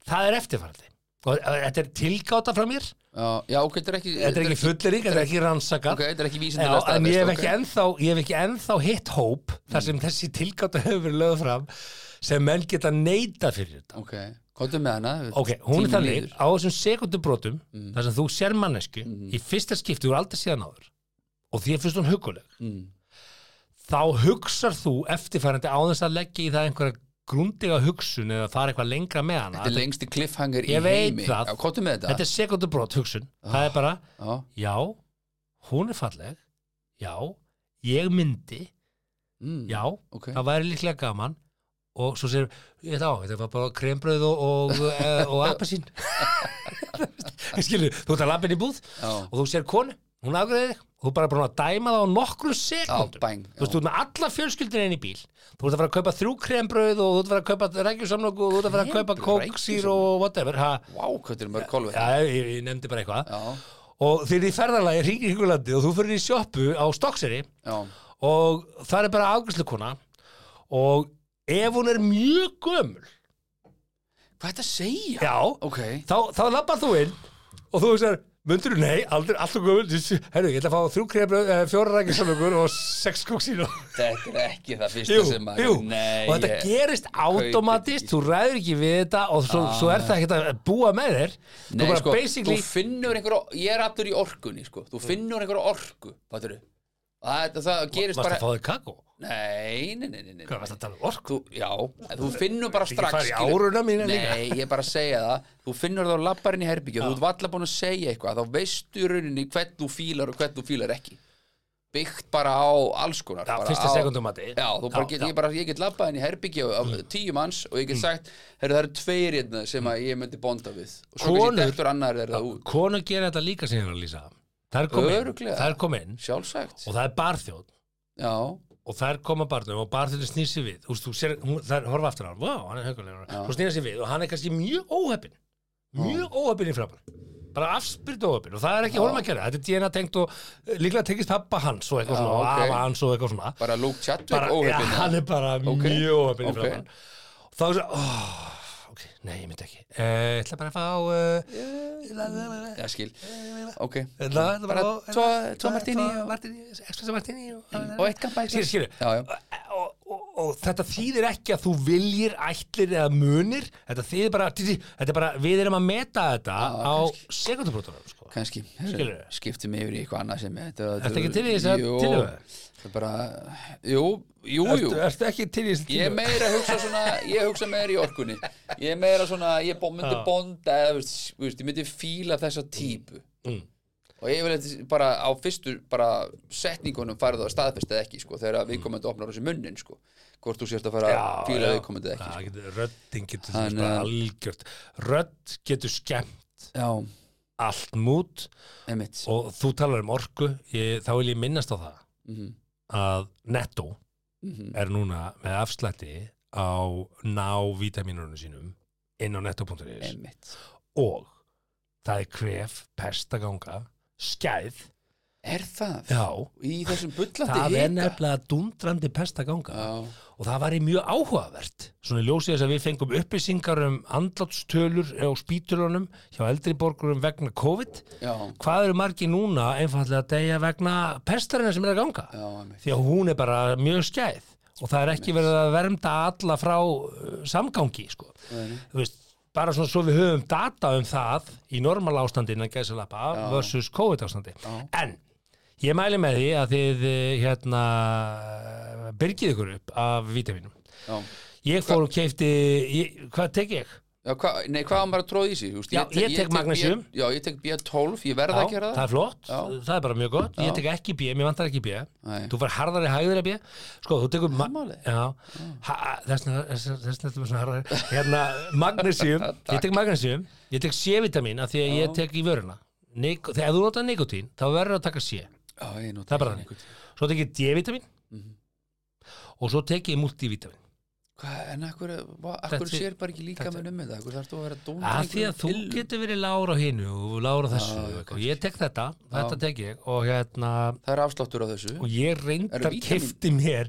það er eftirfarandi og eh, þetta er tilgáta frá mér
Já, já ok, þetta er ekki
þetta er ekki fullerík, þetta er ekki rannsakað
Ok, þetta er ekki
Já,
vísindilega
en ég hef ekki ennþá, ég hef ekki ennþá hitt hóp
Mm.
þar sem þessi tilgáttu hefur verið lögð fram sem menn geta neita fyrir þetta.
Ok, komdu með hana við-
Ok, hún
tíminn
er þannig
líður.
á þessum sekundubrotum
Mm.
þar sem þú sér mannesku í fyrsta skipti úr aldrei síðan áður og því að fyrst hún huguleg
mm.
þá hugsar þú eftirfærandi á þess að leggja í það einhverja grundiga hugsun eða fara eitthvað lengra með hana.
Þetta er lengsti cliffhanger í
Ég veit
heimi
það.
Já, komdu með þetta
Þetta er sekundubrot hugsun. Það
Ah.
er bara,
Já,
já, hún er falleg, já, ég myndi,
mm.
já,
ok
það væri líklega gaman og svo sér, ég þá, þetta var bara krembröð og, og, eh, og appasín skilur, þú ert að lappin í búð
Já,
og þú sér konu hún afgreðir þig og þú er bara búin að dæma það á nokkrum
Já,
sekundum
bang, já.
þú veist, þú ert með alla fjölskyldin einn í bíl þú ert að fara að kaupa þrjú krembröð og þú ert að fara að kaupa rækjusamlöku og þú ert að fara að kaupa
Krembrauð,
kóksýr og whatever ha,
Vá, hvað þetta er mörg kolvetni
já, ég, ég nefndi bara eitthvað
Já,
og þeir eru í ferðalagi hringi ykkur landi og þú fyrir í sjoppu á Stokkseri
já,
og það er bara afgreðslukona og ef hún er mjög gömul
Hvað er þetta að segja?
já,
Ok,
þá, þá lappar þú inn og þú veist myndur þú nei, aldrei, alltaf gömul herru, ég ætla að fá þrjú krefbröð, eh, fjóra rækisamökur og sex kóksín og
þetta er ekki það fyrsta
Jú,
sem maður
jú,
Nei,
og þetta
ég-
gerist
ekki.
automatist þú ræður ekki við þetta og svo, svo er það ekkert að búa með þér þú
Nei,
bara
sko,
basically
þú finnur einhverja, ég er aftur í orkunni, sko, þú finnur einhverja orku, fattur þú? Það, það gerist
varst
bara,
að fá þér kakó
nei, nei, nei, nei, nei.
hvað varst að tala um orku
Þú, já, en þú finnur bara
Ég
strax
fari í
skilur-
áruna mína líka.
Nei, ég er bara að segja það Þú finnur það á labbarinn í herbyggju Þú ert valla búin að segja eitthvað Þá veistu í rauninni hvern þú fílar og hvern þú fílar ekki Byggt bara á alls konar
Já,
bara
fyrsta
á-
sekundumati.
Já, þú bara
Já,
get,
já. Mm.
ég bara, ég get labbað inn í herbyggju af tíu manns og ég get sagt heyrðu, Það eru tveir hérna sem að ég myndi bonda við Og svo kannski
Konur-
dektur annar er það út
konur gera þetta líka sem ég var að lýsa þær kom inn,
Örugglega.
þær kom inn
Sjálfsagt
og það er barþjóð
Já,
og þær koma barnum og barþjóðin snýr sér við þú veist, þú sér, hún, þær horfa aftur á hann, vá, hann er högulegur hún snýr sér við og hann er kannski mjög óheppin mjög óheppin í framann bara afspyrt óheppin og það er ekki hólma að gera þetta er DNA tengt og eh, líklega tengist pappa hans og eitthvað
Já,
svona, og
ok.
afa hans og eitthvað svona
bara Luke Chadwick
bara, ja,
óheppinn,
hann er bara
Ok.
mjög óheppin í
Ok.
framann og þá er svo, óh, ok, nei, ég myndi ekki Eh, ég ætla bara að fá uh,
Já, skil Ok
ætla, ætla bara,
Bara
að fá-
tvo-
eh,
tvo martini og- Mm,
martini, espresso martini
Og eitt kampa
Skilur, skilur.
Já, já
og, og, og þetta þýðir ekki að þú viljir, ætlir eða munir þetta þýðir bara, þetta er bara við erum að meta þetta á sekundabrótunum sko.
kannski
Skilurðu?
skiptum yfir í eitthvað annað sem þetta
Ertu ekki til í þessa
Jú,
tillögu?
það er bara, jú, jú, jú
Ertu ekki til í þessu
ég er
tíma?
meira að hugsa svona ég hugsa meira í orkunni ég er meira svona, ég bó- myndi
Já.
bonda eða, veist, veist, ég myndi fíla þessa típu
Mm.
og ég vil bara á fyrstu bara setningunum farið það að staðfesta eða ekki sko, þegar viðkomandi opnar þessi munnin sko, hvort þú sért að fara að fíla viðkomandi
Mm.
eða
Já,
ekki sko.
Ah, getur- Röddin getur
Hann,
Þann, bara
eh,
algjört Rödd getur skemmt
já,
allt mút
einmitt
og þú talar um orku ég, þá vil ég minnast á það
Mhm,
að Netto
mhm.
er núna með afslætti á ná vítaminunum sínum inn á netto.is
einmitt
og það er kref, pestaganga, skæð
er það?
já,
í þessum bullandi
það er
hita?
nefnilega dundrandi pestaganga
Já,
og það var í mjög áhugavert svona í ljósið þess að við fengum upplýsingar um andlátstölur á spítulunum hjá eldri borgurum vegna COVID
já,
hvað eru margi núna einfallega að deyja vegna pestarina sem er að ganga
já, einmitt
því að hún er bara mjög skæð og það er ekki verið að vernda alla frá uh, samgangi sko. Þú veist, bara svona svo við höfum data um það í normal ástandin en gæsalappa versus COVID ástandi en ég mæli með því að þið uh, hérna uh, byrgið ykkur upp af vítaminum
Já.
ég fór og keipti ég, hvað tek ég?
Já, hva, nei, hvað á maður að tróða í sig? þú veist,
Já, ég tek
B-
magnesium.
Já, ég tek B12, ég verð að gera
það
það
er flott,
Já.
það er bara mjög gott ég tek ekki B, mér vantar ekki B
Nei.
þú fær harðari hægðari B sko, þú tekur ma-
málið.
Já. Ha- þessna þessna þetta er svona harðari hérna, magnesium, ég tek magnesium ég tek C-vitamin af því að ég tek í vöruna Nik þegar þú notar nikotín þá verður að taka C,
Já, ég nota
það er bara þannig svo tek ég D-vitamin
Mhm.
og svo tek ég multivitamin
Hvað, en akkur,
Þetta
akkur
er-
sér bara ekki líka með um þetta? Akkur þarf þú að vera dóna
að því að þú getur verið lára á hinu og lára á þessu
Já,
og ég tek þetta, þetta tek ég og hérna
Það er afsláttur á þessu
og ég reyndar
Eru vítamín?
kifti mér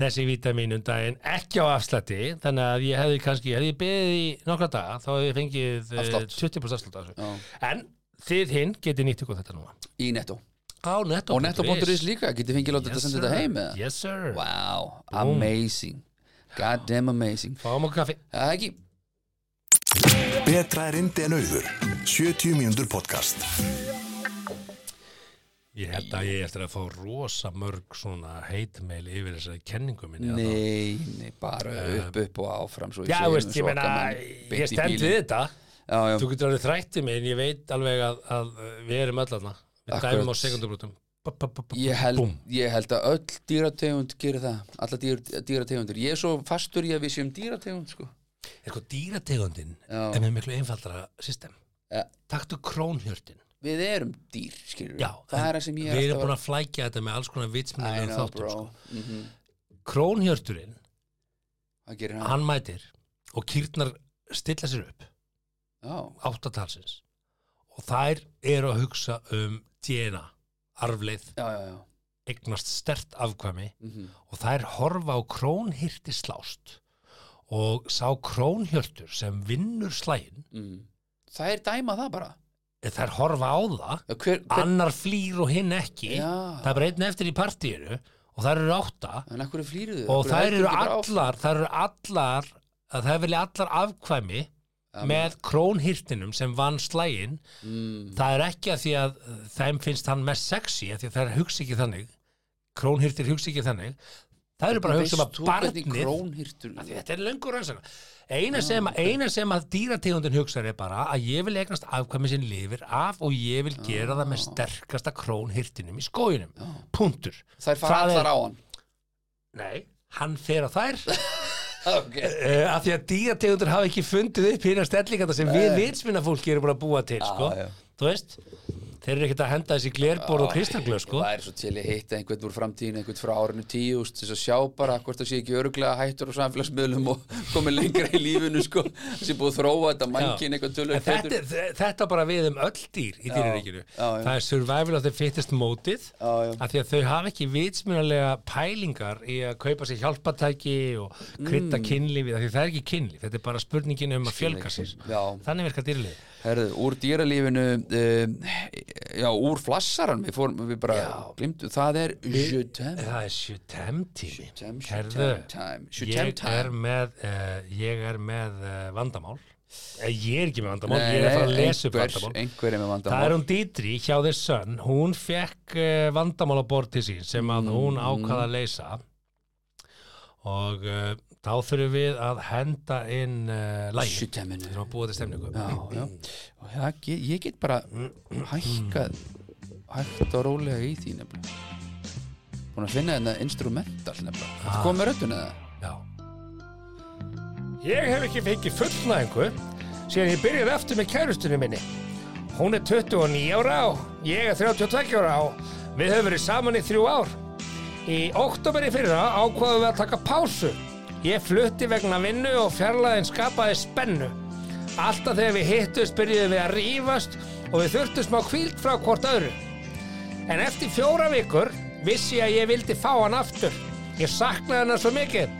þessi vítaminum daginn ekki á afslætti þannig að ég hefði kannski, hefði ég beðið í nokkra daga þá hefði ég fengið
Afslátt.
Afslátt. 20% afslátt af þessu.
Já,
en þið hinn getið nýtt ykkur þetta núna
í netto
á netto.is
Og netto.is líka, getið fengið látið að
yes,
senda þetta heim
sir.
eða?
yes sir,
Wow, amazing God damn amazing
fáum okkur kaffi
Það er ekki
Betra er indi en auður. 70 mínútur podcast.
ég held að ég eftir að fá rosa mörg svona heitmeil yfir þessari kenningu minni þarna.
Nei, nei, bara upp, upp og áfram Svo ég
Eh. já,
segi nú
veist, ég
svo
meina
okkar menn beint í
ég stend
bílinn.
við þetta
Já, já,
þú getur alveg þrættið mig en ég veit alveg að, að uh, við erum öll aðna við
Akkurat.
dæmum á sekundabrótum Ba, ba, ba, ba,
ég held,
búmm.
ég held að öll dýrategund gerir það, alla dýr, dýrategundur ég er svo fastur í að við séum dýrategund sko.
er hvað dýrategundin
Já.
er með miklu einfaldara system
Ja.
taktu krónhjörtin
við erum dýr, skilur
Já,
það
en
er það sem ég
Við
er
erum búin að flækja þetta með alls konar
I
vitsmennir
know,
þáttum
bro
sko.
mm
Krónhjörturinn,
Það gerir hann
hann mætir og kýrnar stilla sér upp
Já,
áttatalsins og þær eru að hugsa um DNA, arfleið
já, já, já
eignast stert afkvæmi
Mhm.
og þær horfa á krónhyrti slást og sá krónhjörtur sem vinnur slægin
mm. Það er dæma það bara
þær horfa á það
Já, hver, hver,
annar flýr og hinn ekki
Já.
það er bara einn eftir í partíinu og þær eru átta
En af hverju flýrðu þau?
og
Af hverju
þær
heldur
eru
ekki bara áfram?
allar þær eru allar að þær vilja allar afkvæmi með krónhyrtinum sem vann slægin
mm.
það er ekki að því að uh, þeim finnst hann mest sexy að því að þær hugsa ekki þannig krónhyrtir hugsa ekki þannig það eru bara að hugsa um
Veist
að
þú hvernig
barnið
krónhirtur
Af því þetta er löngur rannsaka eina
Mm,
sem, eina sem að dýrategundin hugsar er bara að ég vil eignast afkvæmi sem lifir af og ég vil gera það
Ah.
með sterkasta krónhirtinum í skóinum punktur
Þær fara
Það
allar
er-
á hann
nei, hann fer á þær uh,
okay.
af því að dýrategundur hafa ekki fundið upp hérna stellingata sem við vitsminna fólki eru búin að búa til sko.
já.
þú veist þeir eru ekkert að henda þessi glerborð og kristaglöð sko.
Það er svo til að hitta einhvern úr framtíðin einhvern frá árinu tíu úst, þess að sjá bara hvort það sé ekki öruglega hættur á samfélagsmiðlum og komið lengra í lífinu sko, sem búið að þróa þetta mannkinn eitthvað tölvöld
En þetta, er- þe- þetta bara við um öll dýr í dýraríkinu
já, já.
það er survival of the fittest mótið
Já, já.
af því að þau hafa ekki vitsmunalega pælingar í að kaupa sér hjálpatæki og krytta
Mm.
kynlífið af því það er ekki kynlíf, þetta er bara spurningin um að fjölga sér
Já.
þannig virka dýrlið
Herðu, úr dýralífinu um, já, úr flassaran við, fórum, við bara glimtu, það er jötem
það er sjutem tími
Sjutem, sjutem
Herðu,
time, sjutem
ég
time.
er með, uh, ég er með uh, vandamál Eh, ég er ekki með vandamál,
Nei,
ég er að fara að
nei,
lesa upp
einhver-
vandamál
einhver er með
Það er um
vandamál
hún Dítri hjá The Sun, hún fekk uh, vandamál á borð til sín sem að hún
Mm.
ákvaða að leysa og uh, þá þurfum við að henda inn uh, lægi,
sjuteminu
þurfum að búa til stemningu.
já, já. Og það ge- ég get bara hækkað hægt og rólega í því nefnilega búin að finna þetta instrumental nefnilega ah. það komið röddun eða
Já. Ég hef ekki fengið fullnæðingu síðan ég byrjaði aftur með kærustunni minni. Hún er 29 ára og ég er 32 ára og við höfum verið saman í þrjú ár. Í oktober í fyrra ákvaðum við að taka pásu. Ég flutti vegna vinnu og fjarlæðin skapaði spennu. Alltaf þegar við hittust byrjuðum við að rífast og við þurftum smá kvíld frá hvort öðru. En eftir fjóra vikur vissi ég að ég vildi fá hann aftur. Ég saknaði hennar svo mikið.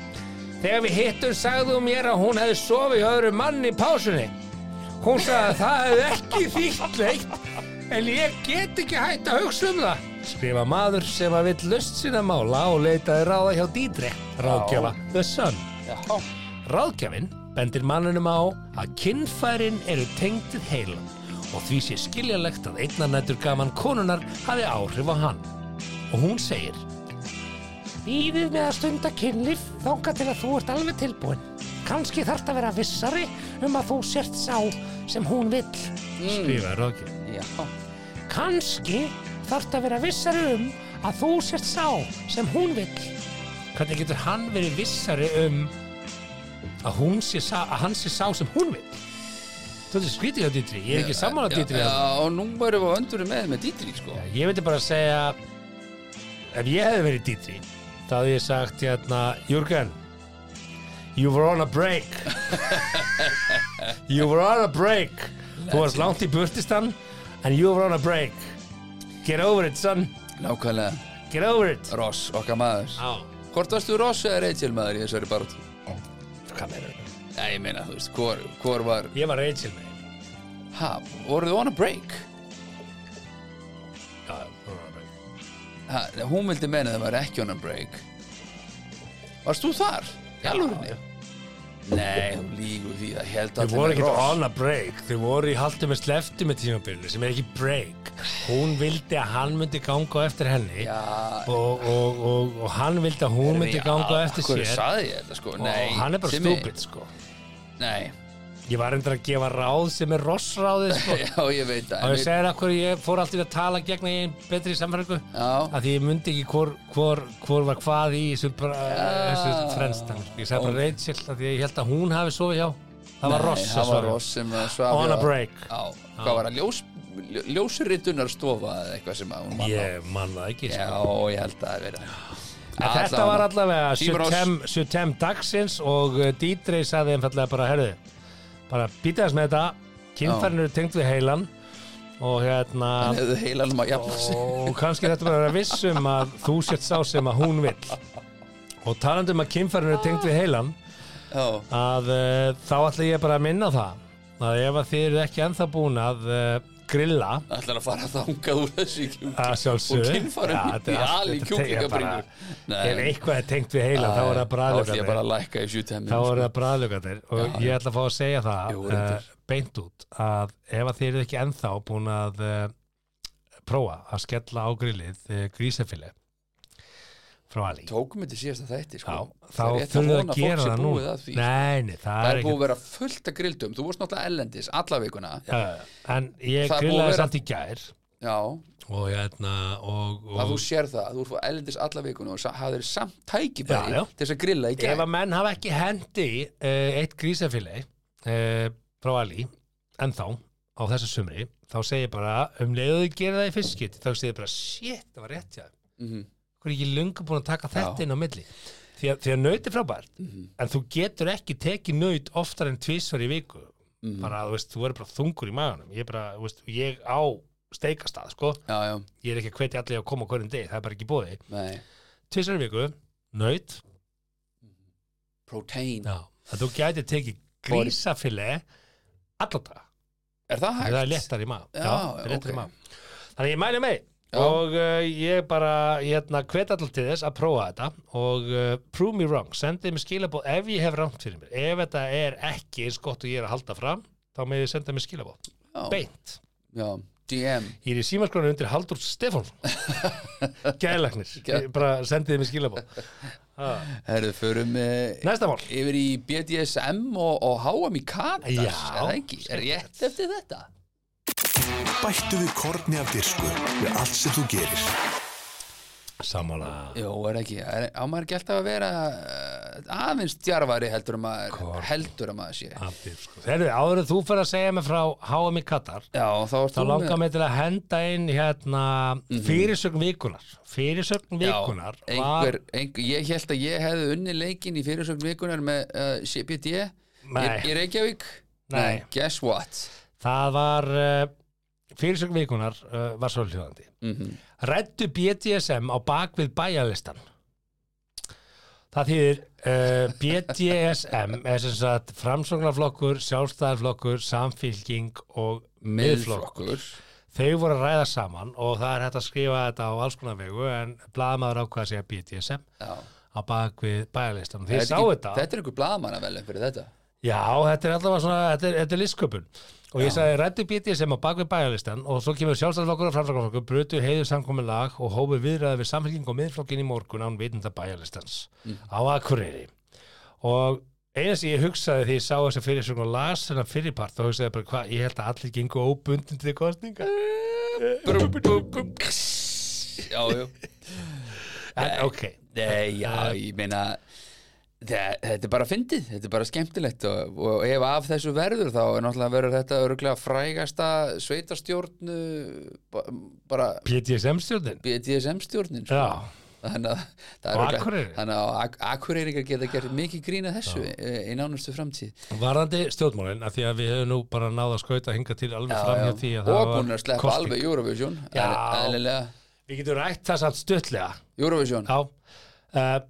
Þegar við hittum sagði hún mér að hún hefði sofið hjá öðru mann í pásunni. Hún sagði að það hefði ekki þýtt leitt en ég get ekki hætt að hugsa um það. Skrifa maður sem að vill löst sína mála og leitaði ráða hjá Dítri, ráðgjafa The Sun.
já,
Ráðgjafinn bendir manninum á að kynfærin eru tengtið heilan og því sé skiljalegt að einnanættur gaman konunar hafi áhrif á hann. Og hún segir Býðið með að stunda kynlíf þanga til að þú ert alveg tilbúin. Kanski þarft að vera vissari um að þú sért sá sem hún vill, skrifaði ráðgjafinn.
já,
Kanski þarft að vera vissari um að þú sért sá sem hún vill. Hvernig getur hann verið vissari um að, hún sé sá, að hann sé sá sem hún vill? Þú veist, skrítið hjá dýtri, ég er ekki sammála
já,
dýtri.
já, og nú erum við öndurum með með dýtri sko.
Ég veit bara að segja, ef ég hefði verið dýtri, þá hefði ég sagt hérna, Jürgen, you were on a break. you were on a break. Þú varst langt í burtistan, and you were on a break. Get over it, son.
nákvæmlega,
Get over it
Ross, okkar maður
Á,
hvort varstu Ross eða Rachel maður í þessari baróttu
hvað meður þetta?
já, ég meina, þú veist, hvor, hvor var
Ég var Rachel með þeim.
ha, voruð on a break
Já, hún var bara-
ha, hún vildi meina það var ekki on a break varst þú þar? í alvörinni? nei, hún lígur því að held
Þau
allir
voru
með
ekkert
Ross.
on a break Þau voru í haldi með slefti með tímabilinu sem er ekki break Hún vildi að hann myndi ganga á eftir henni
Já.
og, og, og, og hann vildi að hún myndi
Já,
ganga á eftir
Hverju
sér
saði ég þetta sko?
og
Nei,
hann er bara
Simmi.
stúpid sko.
Nei,
Ég var endur að gefa ráð sem er rossráðið sko.
já ég veit það
Og ég
en við-
segir að hverju ég fór alltaf að tala gegn að ég betri samverku
Já,
að því ég myndi ekki hvor, hvor, hvor var hvað í þessu, bara, þessu frenstan ég sagði bara Rachel að því ég held að hún hafi sofið hjá það var
nei,
Ross að
það var
svara
Ross sem að svaf
On
hjá-
a break.
Já, hvað var það, ljós ljósuritunarstofa eða eitthvað sem að hún mann á
Ég man það ekki
Já,
sko.
og ég held að það er verið
En þetta var allavega
Tímar ás-
Sutem, Sutem dagsins og uh, Dítrey sagði einfallega bara, herðu, bara býtaðast með þetta, kynfærin eru tengt við heilan og hérna
Hefðu heilanum að jafna sig
og kannski þetta bara að vissum að þú sért sá sem að hún vill og talandi um að kynfærin eru tengt við heilan
Já,
að uh, þá ætla ég bara að minna á það að ef að þið eru ekki ennþá búin að uh, grilla
ætlar að fara þangað úr þessu kjúkling
að sjálfsögðu
Og kynfærum
Já, þetta er
í
allt-
ali
þetta er
kjúklingabringur.
bara- ef
Nei.
eitthvað er tengt við heila þá er það
Þá ætla ég bara
bræðlögatir
að lækka í sjútæmi
þá er það bræðlögatir og ég ætla að fá að segja það
Jú,
eh,
reyndar.
beint út að ef að þið eru ekki ennþá búin að uh, prófa að skella á grillið uh, grísafili frá Ali
Tókum þetta síðast að þetta
Já,
sko.
þá
Það er rétt
þurfum við
vona
að
fólk
gera
sé
það nú
búið að því.
Nei, nei, það
Það
er
er búið
ekki
að vera fullt að grilldum Þú vorst náttúrulega ellendis alla vikuna Já,
En ég
Það er búið að
grillaði
vera-
samt í gær og hérna og, og,
að þú sér það Þú ert fór ellendis alla vikuna og hafðir samt
Já, já.
tækibæri til þess að grilla í
ef
gæð
að menn hafa ekki hendi uh, eitt grísafili uh, frá Ali ennþá á þessu sumri þá segir bara um leiðu þau gera það í fyrst skipti þá segir bara shit það var rétt hjá þeim.
Mhm,
hver er ekki lungu búin að taka þetta
Já.
inn á milli því að, því að nöyt er frábært en þú getur ekki tekið nöyt oftar en tvisvar í viku
mhm.
bara þú veist þú er bara þungur í maganum ég, er bara, þú veist, ég á steikastað sko.
Já, já,
ég er ekki að hvetja allir að koma á hverjum deg það er bara ekki bóði
nei
tvisvar í viku, nöyt
Protein
Já, að þú gæti tekið grísafile alltaf,
Er það hægt?
það er léttar í maður
Já,
það er léttar
ok.
í maður Þannig að ég mæli mig
Já.
og uh, ég bara hérna, hvet alltaf til þess að prófa þetta og uh, prove me wrong, sendið mér skilabóð ef ég hef rangt fyrir mér, ef þetta er ekki eins gott og ég er að halda fram þá með ég senda mér skilabóð,
Já.
beint
Já, DM
Ég er í símarskronu undir Haldur Stefánsson Gælagnir,
Gæ-
bara sendið mér skilabóð
Herðu, förum eh,
Næsta mál
yfir í BDSM og, og HM í Katar
Já.
Er það ekki? Er rétt eftir þetta?
Bættu við korni af dirsku við allt sem þú gerir.
Samála
Jó, er ekki, er, á maður ekki alltaf að vera uh, aðeins djarfari heldur að maður
Hvort?
heldur að maður sé Já,
Allir, sko. Þegar áður en þú fyrir að segja mig frá HM í Katar,
þá ert
þá
þú Mhm.
langar mig til að henda inn hérna fyrirsögn vikunar. Fyrirsögn
Já,
vikunar
einhver, einhver, Ég held að ég hefði unni leikinn í fyrirsögn vikunar með uh, CPD í,
Nei.
í Reykjavík
Nei.
Guess what?
það var, uh, fyrirsögn vikunar uh, var svolítjóðandi.
Mm
Rættu BDSM á bak við bæjarlistan. Það þýðir uh, BDSM er sem sagt framsóknarflokkur, sjálfstæðarflokkur, samfylking og miðflokkur.
Miðflokkur
þau voru að ræða saman og það er hægt að skrifa þetta á alls konar vegu en blaðmaður ákvað að segja BDSM
Já.
á bak við bæjarlistan þið
Þetta
sá
er ekki-
þetta,
Þetta er einhver blaðmanna vel fyrir þetta
já þetta er allavega svona þetta er, þetta er listsköpun og ég sagði rættu BDSM á bak við bæjarlistan og svo kemur sjálfstæðflokkur og framsakaflokkur brutu heiðu samkomin lag og hófu viðræði við samfélking og miðflokkin í morgun án vitunda bæjarlistans
Mm.
á Akureyri og eina sem ég hugsaði því ég sá þess að fyrir svona las þennan fyrirpart þá hugsaði ég bara hvað, ég held að allir gengu óbundin til kostninga
Brum, brum, brum. Já, já
en ok,
Nei, já, ég meina þe- þetta er bara fyndið, þetta er bara skemmtilegt og, og ef af þessu verður þá er náttúrulega verður þetta öruglega frægasta sveitarstjórnu ba- bara
BDSM stjórnin
BDSM stjórnin sko.
Já,
þannig að
Og
það er örugglega-
Akureyri.
þannig að Ak- Akureyringar geta gert mikið grína þessu eh, í nánustu framtíð
varðandi stjórnmálinn að því að við höfum nú bara náða að skauta hinga til alveg fram hjá því
og
að það var
búin að sleppa
kosning.
alveg Eurovision
Já.
eðl- eðlilega
Við getum rætt það samt stuttlega
Eurovision
Já uh,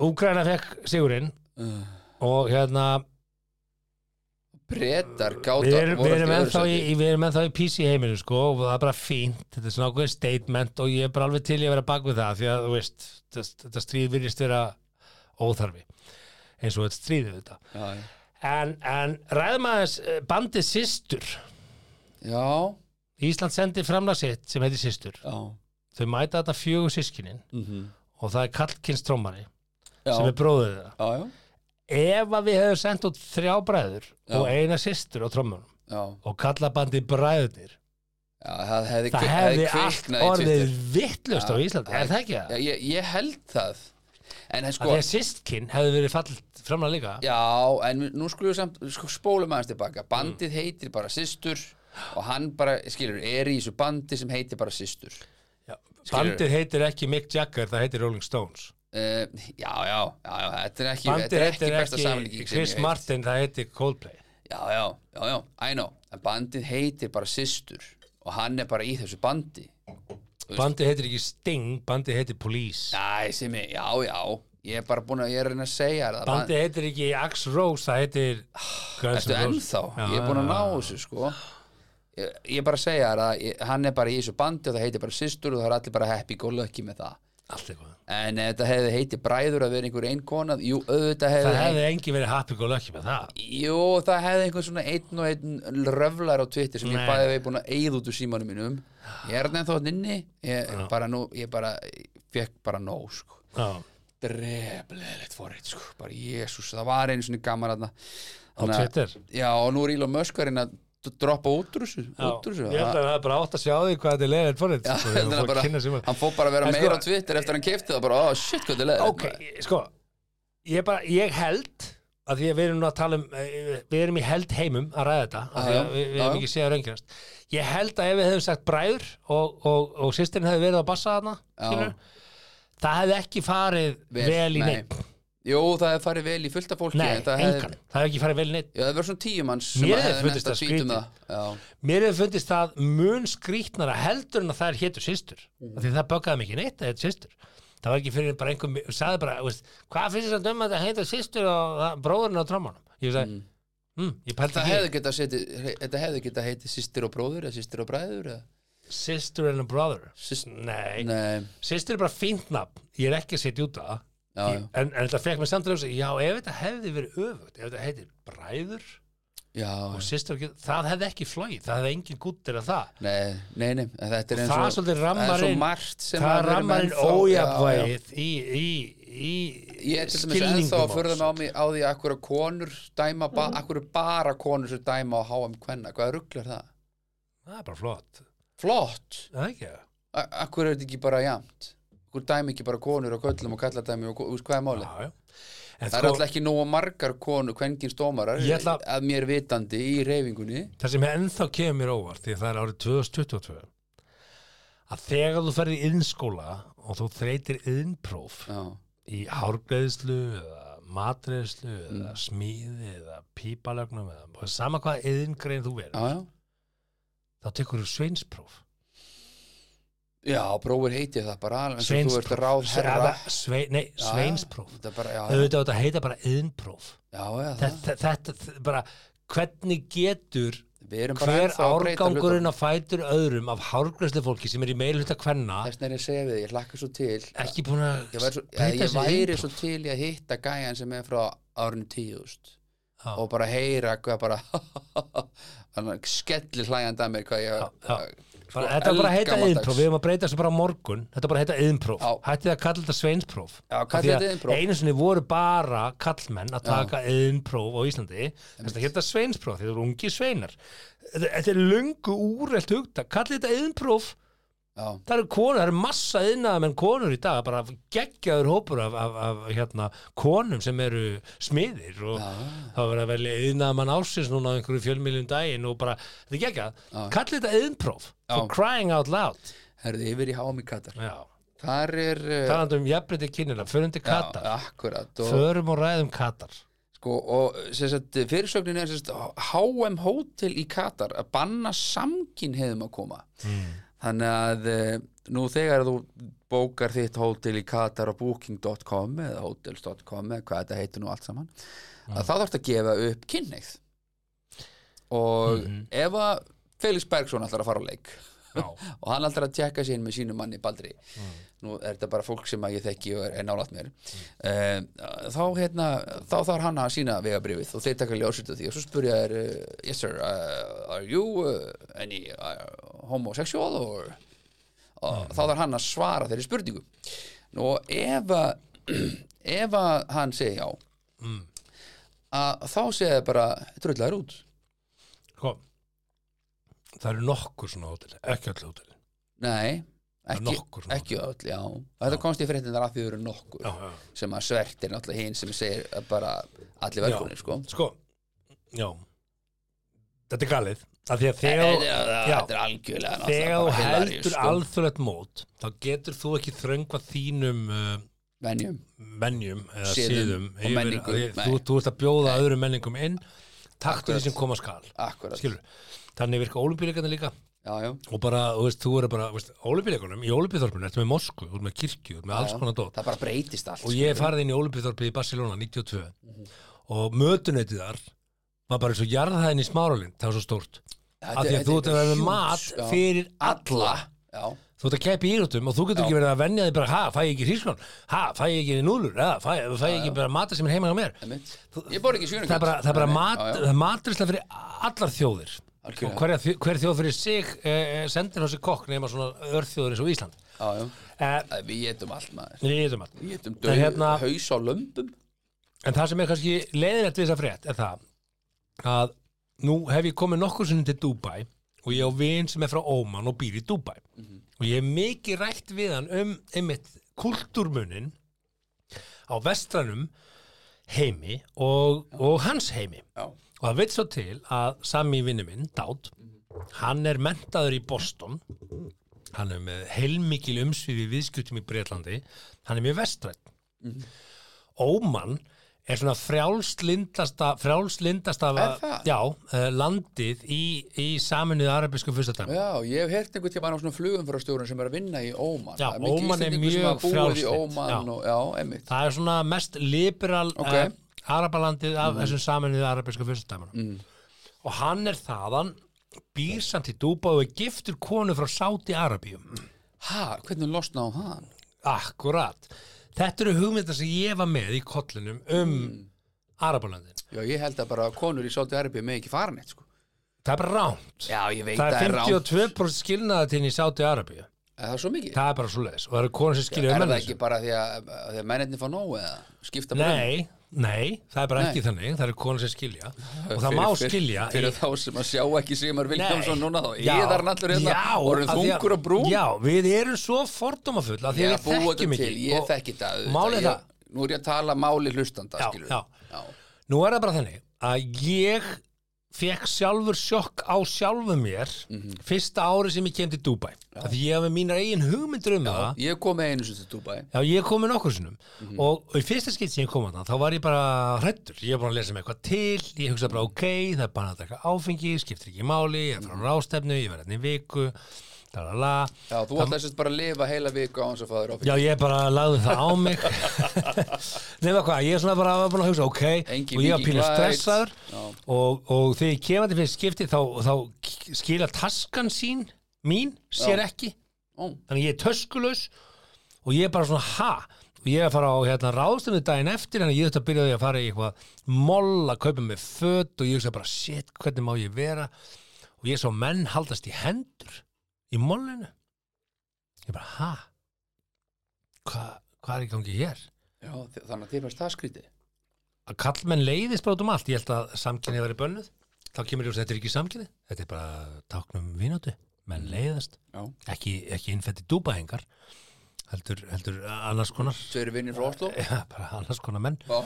Úgræna fekk sigurinn
Uh.
og hérna
brettar
við
gáta
erum, við erum ennþá í, í- við erum ennþá í PC heiminu sko og það er bara fínt, þetta er svona ákveðin statement og ég er bara alveg til í að vera bak við það því að þú veist, þetta- þetta stríð virðist vera óþarfi eins og þetta stríðið þetta
já, já.
en, en ræðum aðeins eh, bandið Sistur
já,
Ísland sendi framlag sitt sem heitir Sistur
já.
þau mæta þetta fjögur sískinin
Mm -hmm.
og það er kallkins trómari
já,
sem er bróðið þeirra
já, já,
ef að við hefum sendt út þrjá bræður og eina systur á trómunum
já.
og kallabandi bræðunir
Já, það hefði,
það
kvi-
hefði allt
kviknað í
orðið
Twitter.
vittlust á
Já,
Íslandi, er það ekki það?
Já, ég, ég held það En en
Sko,
sko
Þegar systkin hefði verið fallit framlega líka
Já, en nú skulum við samt sko, spólum aðeins tilbaka Bandið heitir bara Sistur og hann bara, skilur, er í þessu bandi sem heitir bara Sistur
Já, bandið heitir ekki Mick Jagger, það heitir Rolling Stones
Uh, já, já, já, já, þetta er ekki, þetta
Bandið
er ekki
heitir
besta
ekki
samlíking
Chris
sem ég veit.
Martin, það heitir Coldplay
Já, já, já, já, I know En bandið heitir bara Sistur og hann er bara í þessu bandi
Bandið heitir ekki Sting, bandið heitir Police
Æ, sem ég, já, já Ég er bara búin að, ég er að reyna að segja þér það
Bandið heitir ekki Axe Rose, það heitir Guns
Ertu
N' Roses.
ennþá?
Já,
ég er búin
já,
að ná þessu sko Ég, ég er bara að segja þér að ég, hann er bara í þessu bandi og það heitir bara Sistur og það er allir bara happy go lucky með það
Allt eitthvað
En ef þetta hefði heitið bræður að vera einhver einn kona Jú, auðvitað hefði
Það hefði engin verið happy go lucky með það
Jú, það hefði einhvern svona einn og einn röflar á Twitter sem
Nei.
ég bæði við búin að eyða út úr símanum mínum Ég er nefn þótt inni ég, bara nú, ég bara, ég fekk bara nóg sko.
Já,
Drefleðilegt forrið sko. bara jésús, það var einu svona gaman aðna
á Twitter
Já, og nú er Elon Musk að reyna að d- droppa út úr þessu
Já,
út úr þessu
Ég held að það er bara átt að sjá því hvað þetta er leiðilegt forrið
Já,
sko, og
heldur hann,
fá að
bara,
kynna sér maður.
hann fór bara að vera
En sko-
meira á Twitter eftir að hann keipti það bara, oh shit, hvað þetta er leðið
Ok, sko ég, bara, ég held að því að við erum nú að tala um eh, við erum í held heimum að ræða þetta af því
Já,
að
já,
við, við
já,
erum
já.
ekki séð að raungjast ég held að ef við hefum sagt bræður og, og, og sýstin hefði verið á bassa þarna skilur, það hefði ekki farið vel, í neitt
Jú, það hefði farið vel í fullta fólki
nei,
en það
engan, það hefði ekki farið vel í neitt
Já, það verður svona tíu manns
Mér
sem að
hefði
hefði
fundist
næsta
það
tweet um
skrítið.
það Já,
mér hefði fundist það mun skrýtnara heldur en að það er hétur sýstur
Mm.
af því það böggaði mikið neitt að hétur sýstur það var ekki fyrir bara einhver sagði bara, veist, hvað finnst þetta um að þetta heitur sýstur og bróðurinn á trómanum ég sagði, mm. ég pældi
það
ekki í
hefði geta seti, þetta hefði geta heitið sýstir og bróður eða sýstir og bræður eða
Sister and a Brother
Sys-
Nei,
Nei,
Sister er bara fínt nafn Ég er ekki að setja út að
já,
en,
já,
en þetta fekk mér samtilega Já, ef þetta hefði verið öfugt Ef þetta heitir bræður
já
og Sister, það hefði ekki flogið Það hefði enginn gúttir að það
Nei, nei, nei, þetta er eins
Það
og
er svolítið
það er svo
rammarinn-
margt sem
Það
að við erum
rammar inn
ennþá- já, já.
ójafvæðið í, í, í,
Ég er til dæmis
skilningum
ennþá að
á
förða
þessu.
mig á, mig á því að akkur konur dæma, ba, akkur bara konur sem dæma á HM kvenna, hvað rugglar það?
Það er bara flott
Flott,
Það er ekki
A- akkur er þetta ekki bara jafnt? Akkur dæmi ekki bara konur og köllum og kallar dæmi og ko- þú veist hvað er málið?
Já, já. En
Það er alltaf ekki nógu margar konu, kvenkins dómarar,
sko- Ég ætla-
að mér vitandi í reyfingunni.
það sem ennþá kemur mér óvart því að það er árið 2022 að þegar þú ferði í innskóla og þú þreytir innpróf
Já,
í hárgreðslu eða matreðslu
Mm.
eða smíði eða pípalögnum eða og sama hvað yðingrein þú
já,
verður
já.
þá tekur þú sveinspróf
Já, bróður heiti það bara alveg eins og þú ert
sveinspróf
ráð herra.
Eða svei, nei, sveinspróf
Þetta er bara, já, já,
auðvitað á þetta heita bara yðinpróf
já, já það,
þetta, þetta, þetta bara hvernig getur
við erum bara
hver
ennþá að breyta
árgangurinn
hlutunum.
að fætur öðrum af hárgreðslu fólki sem er í meilhutta kvenna
Þess vegna er ég að segja við, þig, ég hlakka svo til
ekki búin að
ég, var svo,
breyta
ég, ég
þessu
væri
iðnpróf.
svo til í að hitta gæjan sem er frá árinu tíðust
Já.
og bara heyra hvað bara þannig skellir hlægjandi að mér hvað ég
já. Bara,
sko,
þetta er bara að heita
eldgamaldags.
yðinpróf, við hefum að breyta þessu bara á morgun Þetta er bara að heita yðinpróf,
Já.
hættið að kalla þetta sveinspróf
Já,
Af
kallið
því
þetta
að
iðnpróf.
Einu sinni voru bara kallmenn að taka yðinpróf á Íslandi Þetta er hérna sveinspróf, þetta eru ungi sveinar Þetta þetta er lungu úrelt hugta, kallið þetta yðinpróf
já,
Það eru konur, það eru massa yðnaðum en konur í dag bara geggjaður hópur af, af, af hérna, konum sem eru smiðir og það var að velja yðnaðumann ásins núna á einhverju fjölmiljum daginn og bara, þetta er geggjað, kallið þetta yðnpróf for crying out loud
herðu yfir í hámi kattar
Já,
þar er uh,
talandi um jafnbreytti kynina, förum til Katar
já, akkurat og,
förum og ræðum Katar
sko, og sem sagt, fyrirsögnin er sem sagt, HM Hotel í Katar að banna samkinn hefðum að koma þannig að eh, nú þegar þú bókar þitt hótel í Katar á booking.com eða hotels.com eða hvað þetta heitir nú allt saman að þá þarfst að gefa upp kynneið og ef að Felix Bergson ætlar að fara á leik
Já,
og hann ætlar að tjekka sér inn með sínum manni Baldri nú er þetta bara fólk sem að ég þekki og er, er nálaðt mér mm. þá hérna, þá þarf hann að sína vegabrifið og þeir taka ljósut af því og svo spurja þær uh, yes sir, uh, are you uh, any uh, homosexual or og þá þarf hann að svara þeirri spurningu nú og ef að ef að hann segi já
Mm.
að þá segi það bara drullar út
kom Sko, Það eru nokkur svona hótel, ekki öll hótel
nei,
er
ekki,
nokkur svona.
ekki öll, já og þetta komst í fréttinnar af því þau eru nokkur
Já, já
sem að svert er sko. náttúrulega hinn sem segir að bara allir
Já.
velkominir sko
Sko, já þetta er galið af því að þegar já,
Þetta er algjörlega náttúrulega
þegar þú
bara hilaríus,
heldur
sko.
alþjóðlegt mót þá getur þú ekki þröngvað þínum uh,
Venjum
menjum eða
Siðum
síðum
og
yfir-
menningu,
því-
nei.
þú, þú ert að bjóða öðrum menningum inn taktu því sem koma skal
Akkurat
skilur, þannig virka olimpíuleikarnir líka
Já, já
og bara, þú veist, þú eru bara olimpíuleikunum, í olimpíuþorpinu, ertu með Moskvu þú ert með kirkju, þú ert með alls konar dót
Það bara breytist allt
og ég hef farið inn í olimpíuþorpið í Barcelona 92
Mhm.
og mötuneytið þar var bara eins og jarðhæðin í smáralind það var svo stórt, af því að þú ert að vera með mat fyrir alla
Já,
þú ert að keppa í íróttum og þú getur ekki verið að venja þig bara, ha, fæ ég ekki hrískon, ha, fæ ég ekki núlur, ha, fæ, fæ ég ekki bara matur sem er heima á mér
emitt Ég bor ekki sjönu
það er bara, það er bara mat,
já, já.
það er matrisla fyrir allar þjóðir
Algjörlega.
og hverja, þjó- hver þjóð fyrir sig eh, sendir hans í kokk nema svona örþjóður eins og Ísland
Já, já
eh,
Æ, Við getum allt maður
við vitum allt.
Við getum
En
döð,
hérna-
haus á lömbum
en það sem er kannski leiðinett við þessa frétt er það að nú hef ég komið nokkur sinni til Dubai og ég á vin sem er frá Óman og býr í Dubai og ég hef mikið rætt við hann um einmitt kultúrmunin á vestranum heimi og, og hans heimi
Já,
og það veit svo til að sami vinnu minn, Dát hann er mentaður í Boston hann er með heilmikil umsvið við viðskiptum í Breitlandi hann er mjög vestrætt Óman er svona frjálslindasta frjálslindasta
Er það?
já, uh, landið í, í saminuð arabisku fyrstatæmi
já ég hef hert einhvern tímann á svona flugumfærastjórun sem er að vinna í Óman
Já,
Það mikið
Óman er
Íslendingur sem
mjög
hafa búið í
frjálslynt, já.
Óman og- Já, emitt
það er svona mest liberal
Ok. Mhm.
okay. arabalandið af þessum saminuð arabisku fyrstatæmanum
Mm.
og hann er þaðan býr samt í Dúba og er giftur konu frá Sáti Arabíum
Hæ, hvernig losna á hann?
Akkurat. Þetta eru hugmynda sem ég var með í kollinum um mm. Arabalöndin.
Já, ég held að bara konur í Sáti Arbi með ekki farin eitt, sko.
Það er bara rámt.
Já, ég veit
Það er
rámt.
52% skilnaðatinn í Sáti Arabíu.
Er Það er svo mikið.
Það er bara svo leiðis. Og það eru konur sem skilja
er
um
það
mennins.
ekki bara því að, að, því að mennirni fá nóg eða skipta bara um?
Nei, nei, það er bara
Nei.
ekki þannig. Það eru konur sem skilja. Og það
Fyrir-
má
fyrir-
skilja. í-
Fyrir þá sem að sjá ekki Sigmar Viljámsson
Nei.
núna þá.
Já,
Ég þar allir hérna
já,
og eru
af því að-
þungur og brún.
Já, við erum svo fordómafull að því að
ég
við
búið
þekkjum ekki.
þetta til. Ég
Og
þekki það. auðvitað.
Málið er
Ég-
það.
Nú er ég að tala máli hlustanda,
Já,
skilur.
já.
já.
Nú er það bara þannig að ég fekk sjálfur sjokk á sjálfum mér
Mhm.
fyrsta ári sem ég kem til Dubai af því ég hef með mínar eigin hugmyndur um það
Ég kom með einu sem til Dubai.
Já, ég kom með nokkur sinnum
Mhm.
og, og í fyrsta skipt sem ég kom að þá var ég bara hrættur, ég var búin að lesa með eitthvað til ég hugsaði bara ok, það er bara að taka áfengi skiptir ekki máli, ég er
Mhm.
frá rástefnu ég verði hérna í viku, talala
Já, þú ætlaði sérst bara að lifa heila viku á hans að fá þér áfengi.
Já, ég bara lagði það á mig Nefna hvað, ég er svona bara var búin að hugsa, ok
Engin
og ég var
Viking
pínu
Lights.
stressaður
Já.
og, og þegar ég kemandi fyrir skipti þá, þá skila taskan sín mín, sér ekki
Ó,
þannig ég er töskulaus og ég er bara svona ha og ég er að fara á hérna, ráðstöfnu daginn eftir þannig ég þetta byrjaði að fara í eitthvað moll að kaupa mig föt og ég hugsa bara shit, hvernig má ég vera og ég svo menn haldast í hendur í mollinu ég bara ha hvað hva er í gangi hér
Já, þi- þannig að þið fannst það skrítið.
að kallmenn leiðist bara út um allt ég held að samkynni verið bönnuð þá kemur ég að þetta er ekki samkynni þetta er bara táknum vináttu menn leiðast
Já.
ekki, ekki innfætti dúbahengar heldur, heldur annars konar
Þau eru vinnir frá Oslo.
já, bara annars konar menn
Já.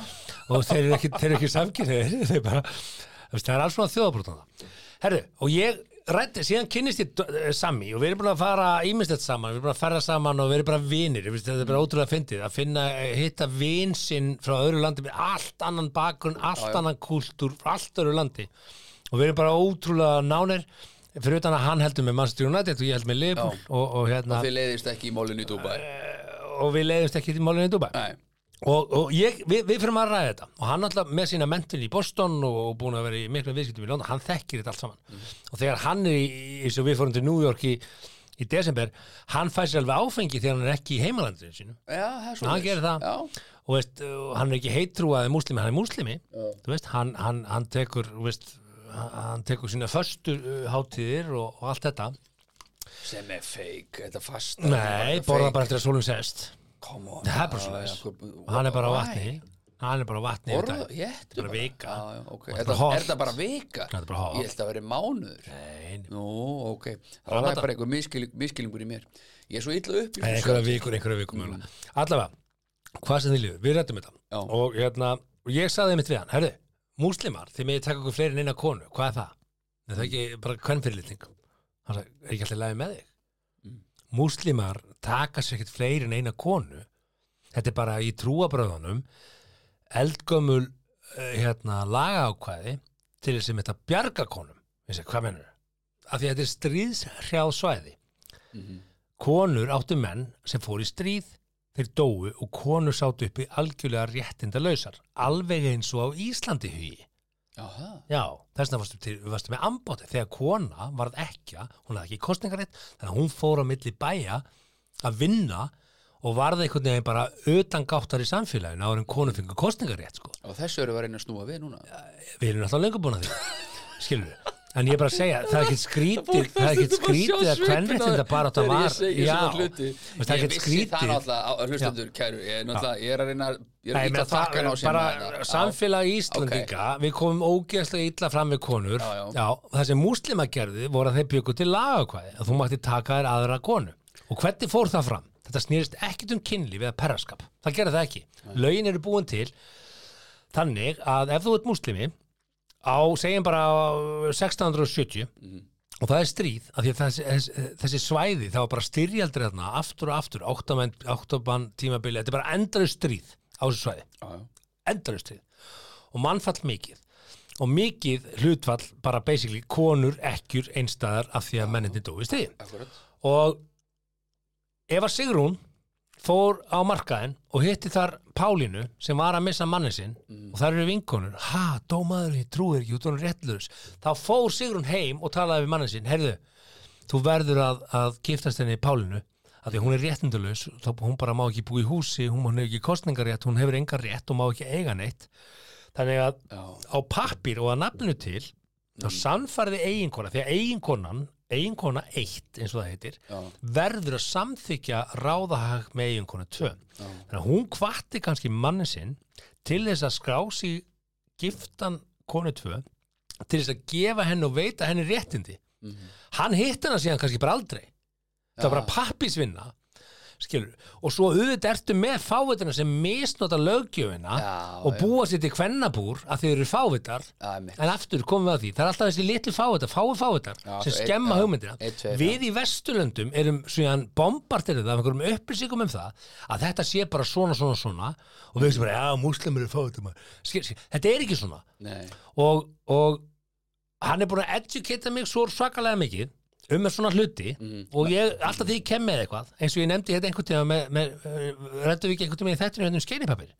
og þeir eru ekki, þeir eru ekki samkynniðir þeir bara, þú veist, það er alls svona þjóðabrótan herru, og ég rætti síðan kynnist ég eh, Sammy og við erum búin að fara ímislegt saman, við erum búin að ferða saman og við erum bara vinir, við, þetta er bara ótrúlega fyndið að finna, eh, hitta vin sinn frá öðru landi með allt annan bakgrunn allt annan kúltúr, frá allt öðru landi og við erum bara ótrúlega nánir fyrir utan að hann heldur með Manchester United og ég held með Liverpool og, og, hérna,
Þið leiðist ekki í málinu í Dubai.
Eh. og við leiðumst ekki í málunni í Dubai
Nei.
og, og ég, við, við fyrir maður að ræða þetta og hann alltaf með sína mentin í Boston og, og búin að vera í miklum viðskiptum í London hann þekkir þetta allt saman og þegar hann er í, í- eins og við fórum til New York í, í desember, hann fær sér alveg áfengi þegar hann er ekki í heimalandinu sínu
Já, það er svo
hann gerir það
Já,
og veist, og hann er ekki heitrúaði múslimi, hann er múslimi Þú veist, hann, hann, hann tekur þú veist, hann hann tekur sína föstu uh, hátíðir og, og allt þetta
sem er fake, þetta fasta
nei, borða bara eftir að sólum sest
Come on
það er bara svo hann er bara á vatni hann er bara á vatni yfir
Borða,
dag.
ég ættu
Bara vika.
Já, já, ok.
Bara
Er það-
holt.
Er það bara vika?
Þetta er bara holt.
Ég held að vera mánuður
Nei, nei.
Nú, ok Það
Ramadán.
er bara einhver miskil, miskilingur í mér Ég er svo illa upp í
Nei,
þessu.
einhverja vikur, einhverja vikur mm. allavega, hvað sem þið líður, við rættum þetta
Já.
og hérna, og ég saði mitt við hann herðu, múslimar, þið meði taka okkur fleiri en eina konu, hvað er það? Nei, það er ekki bara kvennfyrirlitning hann sagði, er ekki alltaf lægi með þig Mm. múslimar taka sér ekkert fleiri en eina konu þetta er bara í trúabröðunum eldgömmul eh, hérna, lagaákvæði til þess að þetta bjarga konum Ég segi, hvað mennur af því að þetta er stríðshrjáð svæði
Mhm.
konur áttu menn sem fóru í stríð þeir dóu og konur sátu upp í algjörlega réttinda lausar alveg eins og á Íslandi hugi
Jaha,
Já, þess vegna varstu, til, varstu með ambóti þegar kona varð ekkja, hún hafði ekki kostningaritt þannig að hún fór á milli bæja að vinna og varði einhvern veginn bara utan gáttar í samfélaginu áður en konu fengur kostningaritt sko.
og þessu eru við að reyna að snúa við núna
við erum alltaf lengur búin að því skilur við, en ég er bara að segja það er ekkert skrítið, það er ekkert skrítið að kvenréttinda bara þetta
Þegar
var
ég segi
já,
svona hluti.
Veist, það er
Ég
ekkert
vissi það
skrítið
náttúrulega, á- hlustendur, kæru Ég er náttúrulega- ég er að reyna Ég er
Nei,
ekki
menn,
að
það
þakka ná sem
bara samfélag Íslandinga, við komum ógeðslega illa fram við konur
Já, já.
það sem múslima gerði voru að þeir byggu til lagakvæði, að þú mátti taka þér aðra konu og hvernig fór það fram? Þetta snýrist ekkit um kynlíf eða perraskap það gerði það ekki, lögin eru búin til þannig að ef þú ert múslimi á, segjum bara á 1670
Mhm.
og það er stríð af því að þessi, þessi, þessi svæði það var bara styrjaldri þarna aftur og aftur áttamann áttaman tímabili, þetta er bara endaðu stríð á þessu svæði
Já,
endalaustið og mannfall mikið og mikið hlutfall bara basically konur ekkjur einstæðar af því að menninni dói stiði
akkurat
og Eva Sigrún fór á markaðinn og hitti þar Pálínu sem var að missa manni sinn og þar eru vinkonur, ha, dómaður ég trúir ekki út og hún réttlurs þá fór Sigrún heim og talaði við manni sinn heyrðu, þú verður að, að giftast henni í Pálinu af því að hún er réttindalus þá hún bara má ekki búa í húsi hún hefur ekki kostningarétt, hún hefur engar rétt og má ekki eiga neitt þannig að
Já,
á pappir og að nafnu til þá sannfærði eiginkona því að eiginkonan, eiginkona eitt eins og það heitir,
Já.
verður að samþykja ráðahag með eiginkona tvö þannig að hún kvatti kannski mannin sinn til þess að skrá sig giftan konu tvö til þess að gefa henni og veita henni réttindi
Mhm.
hann hitt hennar síðan kannski bara aldrei það var bara pappisvinna skilur, og svo auðvitað ertu með fávitina sem misnota löggjöfina
Já,
og
já.
búa sér til kvennabúr að þið eru fávitar
Já, einmitt.
en aftur komum við að því, það er alltaf þessi litlu fávitar fái fávitar
Já,
sem
svo einn-
skemma
já,
hugmyndina
einn, tveir,
við í Vesturlöndum erum síðan bombardirðið af einhverjum upplýsingum um það að þetta sé bara svona, svona, svona og við sem bara, já, múslimur eru fávitar maður." Skil- skil- þetta er ekki svona
nei
og, og hann er búin að educata mig svo svakalega mikið um með svona hluti og ég, alltaf því ég kem með eitthvað eins og ég nefndi hérna einhvern tíma með, með rættu við ekki einhvern tíma í þettinu hérna um skeinipapir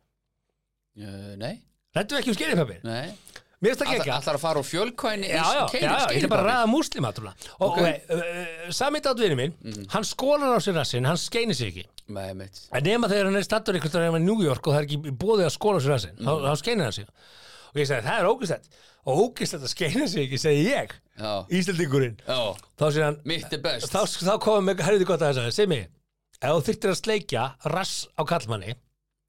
Eh, Nei,
rættu við ekki um skeinipapir,
nei
mér finnst það ekki
Ætlar að fara á fjölkvæni
Já, já, já, já, ég er bara að ræða múslima trúlega. og
Ok.
okay. uh, samið átvinni minn hann skólar á sér rassinn, hann skeinir sig ekki
Nei, mitt
En nema þegar hann er stattur einhvern veginn í New York og það er ekki bóðið að skóla sér hansinn, þá, þá skeinir hann sig. Og ég segi, það er ógæslegt. Og ógæslegt að skeinir sig ekki, segi ég,
Já.
Íslandingurinn.
Já,
Þá segir hann,
mitt er best
þá, þá komum við, herriði gott að þess að það, Simmi, ef þú þyrftir að sleikja rass á kallmanni,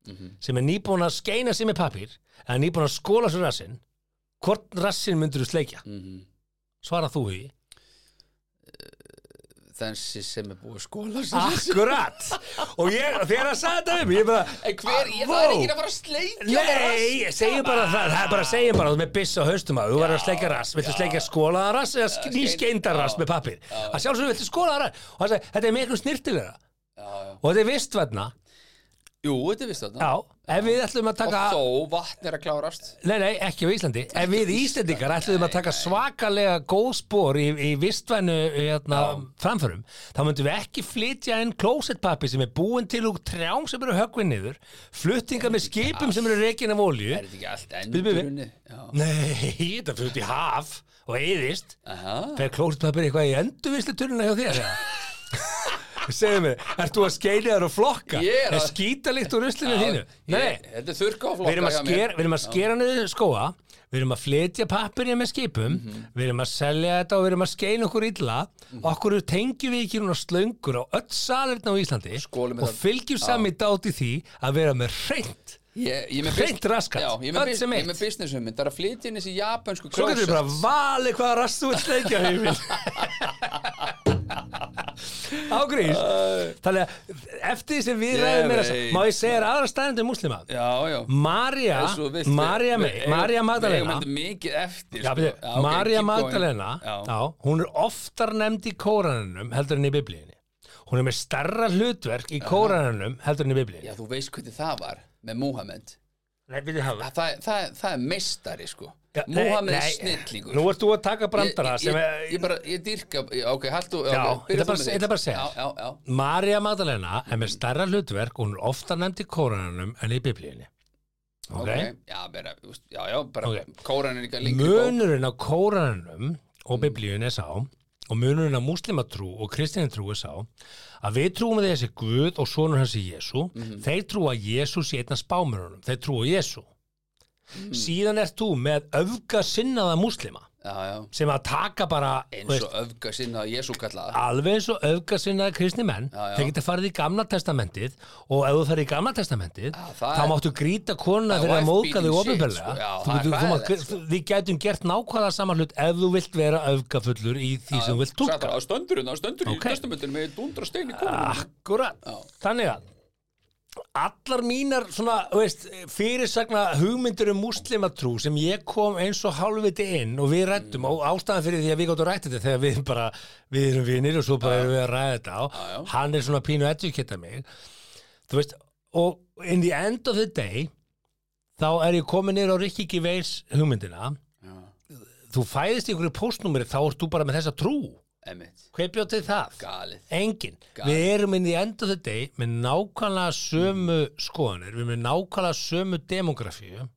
Mhm.
sem er nýbúin að skeina sig með pappír, eða nýbúin að skóla sér rassinn, hvort rassinn myndir þú sleikja?
Mhm.
Svara þú í.
Þessi sem er búið að skóla sig.
Ah, Akkurat! og ég, þegar hann sagði þetta um, mig, ég bara,
En hver, ég það er
Vó!
ekki að fara að sleikja
Nei, segjum bara það, það er bara að segja bara þú með byssa á haustum að þú verður að sleika rass, viltu sleika skólaða rass eða nýskeindar rass með pappir að sjálfsögur viltu skólaða rass og það segja, þetta er miklu snirtilega og þetta er vistvætna,
Jú, þetta er vist þarna
já, ef við ætlum að taka
Og þó vatn er að klárast
Nei, nei, ekki á Íslandi. Ef við Íslandingar ætluðum að taka svakalega góð spór í, í vistvænu hérna, framförum, þá myndum við ekki flytja inn klósettpappi sem er búin til úr trjám sem eru höggvinn niður, fluttingar með skipum sem eru rekin af olju.
Er þetta ekki allt
bíðu, bíðu.
endur unni?
Nei, þetta fyrir út í haf og eyðist
Aha.
Fer klósetpapir eitthvað í endurvislu tunnuna hjá þér? Segðu mig, ert þú að skeina þér og flokka?
Ég er
er
að-
skítalikt úr ruslinu þínu? Nei,
Ég- Þetta er þurrka og
við erum að
flokka hjá mér.
skera, við erum að skera niður skóa Við erum að flytja pappirinn með skipum
Mhm.
Við erum að selja þetta og við erum að skeina okkur illa Okkur tengjum við ekki núna slöngur á öll salirna á Íslandi
Skólum
Og
þetta-
fylgjum sami dát í því að vera með hreint
Ég, ég er með
Hreint
bus-
raskat.
Já, ég er með
Öll
bus-
sem
ég er
eitt.
með business um Það er að flytja inn þessi japansku
Svo getur við bara valið hvaða rast þú ert sleikja Ágrís Þannig að eftir því sem við
Ég
ræðum meira
veit.
saman, má ég segja þér aðra staðendur múslima
Já, já
Marja,
Eins og vilt.
Marja
Við
May,
eigum-
Marja
Við eigum
Magdalena
heldur mikið eftir
Já,
sko.
byrju,
Já, ok,
Marja
keep going.
Magdalena
Já.
já, hún er oftar nefnd í kóranunum heldur en í biblíunni hún er með starra hlutverk í kóranunum heldur en í biblíunni
Já, þú veist hvernig það var með Múhamed
Nei, byrju, hafa-
það, það, það, það er meistari sko
Já, nei,
Múhamed er
nei.
snillingur
Nú ert þú að taka brandara
ég,
sem
ég, ég
er
bara, ég dyrka já, Ok, haldu
Já, ég
ok,
ætla
byrja þú
bara- ég
með
ætla
þitt.
bara að segja
Já, já, já,
Marja Magdalena er með starra hlutverk og hún er oftar nefnd í kóranunum en í biblíunni Ok,
ok Já, bara, þú veist, já, já, bara
Ok.
Kóran er líka lengri bók
Munurinn á kóranum og biblíun er sá og munurinn á múslimatrú og kristinantrú er sá að við trúum að þessi Guð og sonur hans í Jésu
Mhm.
þeir trúa að Jésu sé einn af spámörunum þeir trúa á Jésu
Mhm.
síðan ert þú með öfga sinnaða múslima
Já, já
sem að taka bara þú Ah,
Eins og öfga sinna að Jésu kallaða
alveg eins og öfga sinnaða kristni menn
Já, já.
þeir geta farið í gamla testamentið og ef þú farið í gamla testamentið
Já, það
þá
er-
máttu grýta konuna
Það
fyrir
er
að
wife
móðga þig
beating shit,
ofinbjörlega
sko. Já, það er hræðilegt, sko.
við gætum gert nákvæða saman hlut ef þú vilt vera öfgafullur í því sem þú vilt
Sagði
túlka
bara, stöndur hérna, stöndur í
Ok. Ah.
testamöndinu með dundra stein í kóran
akkurat,
Já.
þannig að allar mínar svona, þú veist, fyrirsagna hugmyndur um múslimatrú sem ég kom eins og hálfviti inn og við rættum
Mm.
og ástæðan fyrir því að við gáttum rætt þetta þegar við bara, við erum vinir og svo bara erum við að ræða þetta á,
já.
hann er svona pínu edukita mig, þú veist og in the end of the day þá er ég komin niður á Rikki Giveis hugmyndina þú fæðist í einhverju póstnúmeri þá ert þú bara með þessa trú
Emmitt,
hver bjóð til það?
galið
Engin.
Gali.
Við erum inn í end of the day með nákvæmlega sömu skoðanir, við erum með nákvæmlega sömu demografíu.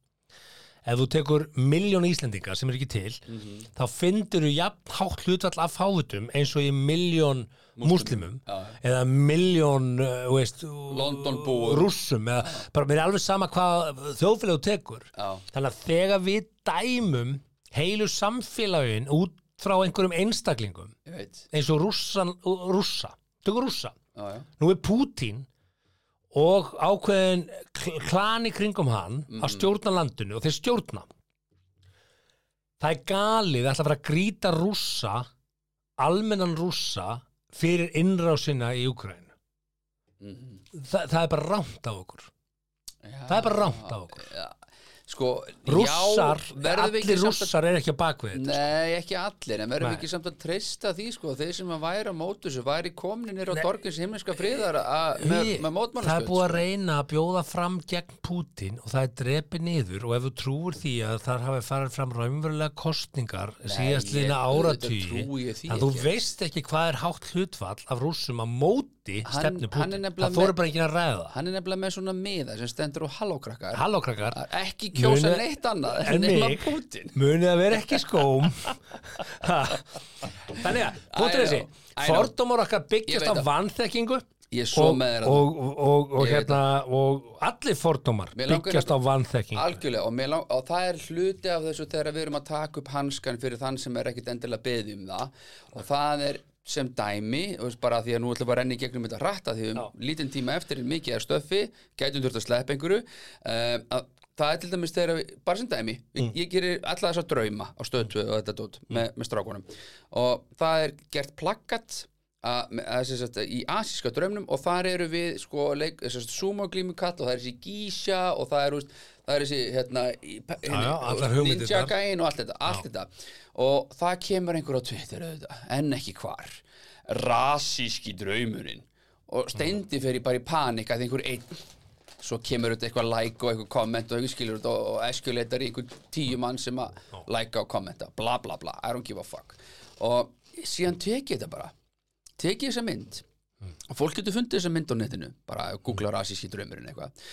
Ef þú tekur miljón Íslendinga sem er ekki til,
Mhm.
þá fyndir þú jafn hátt hlutvall af fávitum eins og í miljón múslimum
Já,
eða miljón uh, þú veist,
Londonbúum.
rússum eða bara mér er alveg sama hvað þjóðfélag þú tekur.
Já.
Þannig að þegar við dæmum heilu samfélagin út frá einhverjum einstaklingum
Ég veit,
eins og rússan, rússa tökur rússa,
já, já
nú er Pútín og ákveðin kl- klan í kringum hann
Mhm.
að stjórna landinu og þeir stjórna það er galið að ætla að fara að grýta rússa almennan rússa fyrir innrásina í Ukraínu Þa, það er bara rámt á okkur
Mhm. Já,
það er bara rámt á okkur
já. Sko,
rússar,
já, verðum við ekki
allir
samt að-
rússar er ekki á bakvið þetta
Nei, ekki allir, en verðum
Nei.
við ekki samt að treysta því sko, þeir sem að væri á mótu þessu væri komninir á dorkins himneska friðar að- með,
Hugi,
með sko. mótmannastöð
það er búið að reyna að bjóða fram gegn Putin og það er drepið niður og ef þú trúir því að þar hafi farið fram raunverulega kostningar síðast
ég-
lína
auðvitað trúi
áratýri
ég því
að þú
ekki.
veist ekki hvað er hátt hlutfall af rússum að móti
Hann-
stefnu
hann er
Putin
nefnilega
það þóru
með-
bara ekki að ræða
Hann er nefnilega með svona miða sem stendur á hallókrakkar
Halló krakkar
Ekki kjósa
Muna-
neitt annað
en
nema
mig.
Putin
munið að vera ekki í skóm Ha. þannig að punktur
I
þessi
know, I know.
fordómar okkar
Ég
byggjast
veit
á
það.
vanþekkingu
Ég er svo
og,
með þér þarna.
og, og, og,
Ég veit
hérna og allir fordómar
Mig langar
byggjast á
hérna-
vanþekkingu
Algjörlega, og, mig lang, og það er hluti af þessu þegar við erum að taka upp hanskan fyrir þann sem er ekkit endilega beðið um það og það er sem dæmi þú veist, bara því að nú ætlum við að renna í gegnum þetta rætta því um lítinn tíma eftir er mikið að stöffi gætum þurft að sleppa einhverju uh, að, það er til dæmis þegar við, bara sem dæmi mm. ég gerir alltaf þess að drauma á stöðtu og þetta dót með, með strákunum og það er gert plakkat að, með- að, sem sagt, í asíska draumnum og þar eru við sko leik, sem sagt, sumoglímukall og það er þessi gísja og það er, þú veist, það er þessi hérna, í,
Já, já, allar hugmyndirnar.
ninja gæin og allt þetta, allt þetta og það kemur einhver á Twitter auðvitað, en ekki hvar rasíski draumurinn og steindi fyrir bara í panik að einhver einn svo kemur þetta eitthvað like og eitthvað komment og eitthvað skilur þetta og, og eskuleitar í einhver tíu mann sem að like og kommenta bla bla bla, I don't give a fuck og síðan tekið þetta bara tekið þessa mynd og fólk getur fundið þessa mynd á netinu bara að googla rasíski draumurinn eitthvað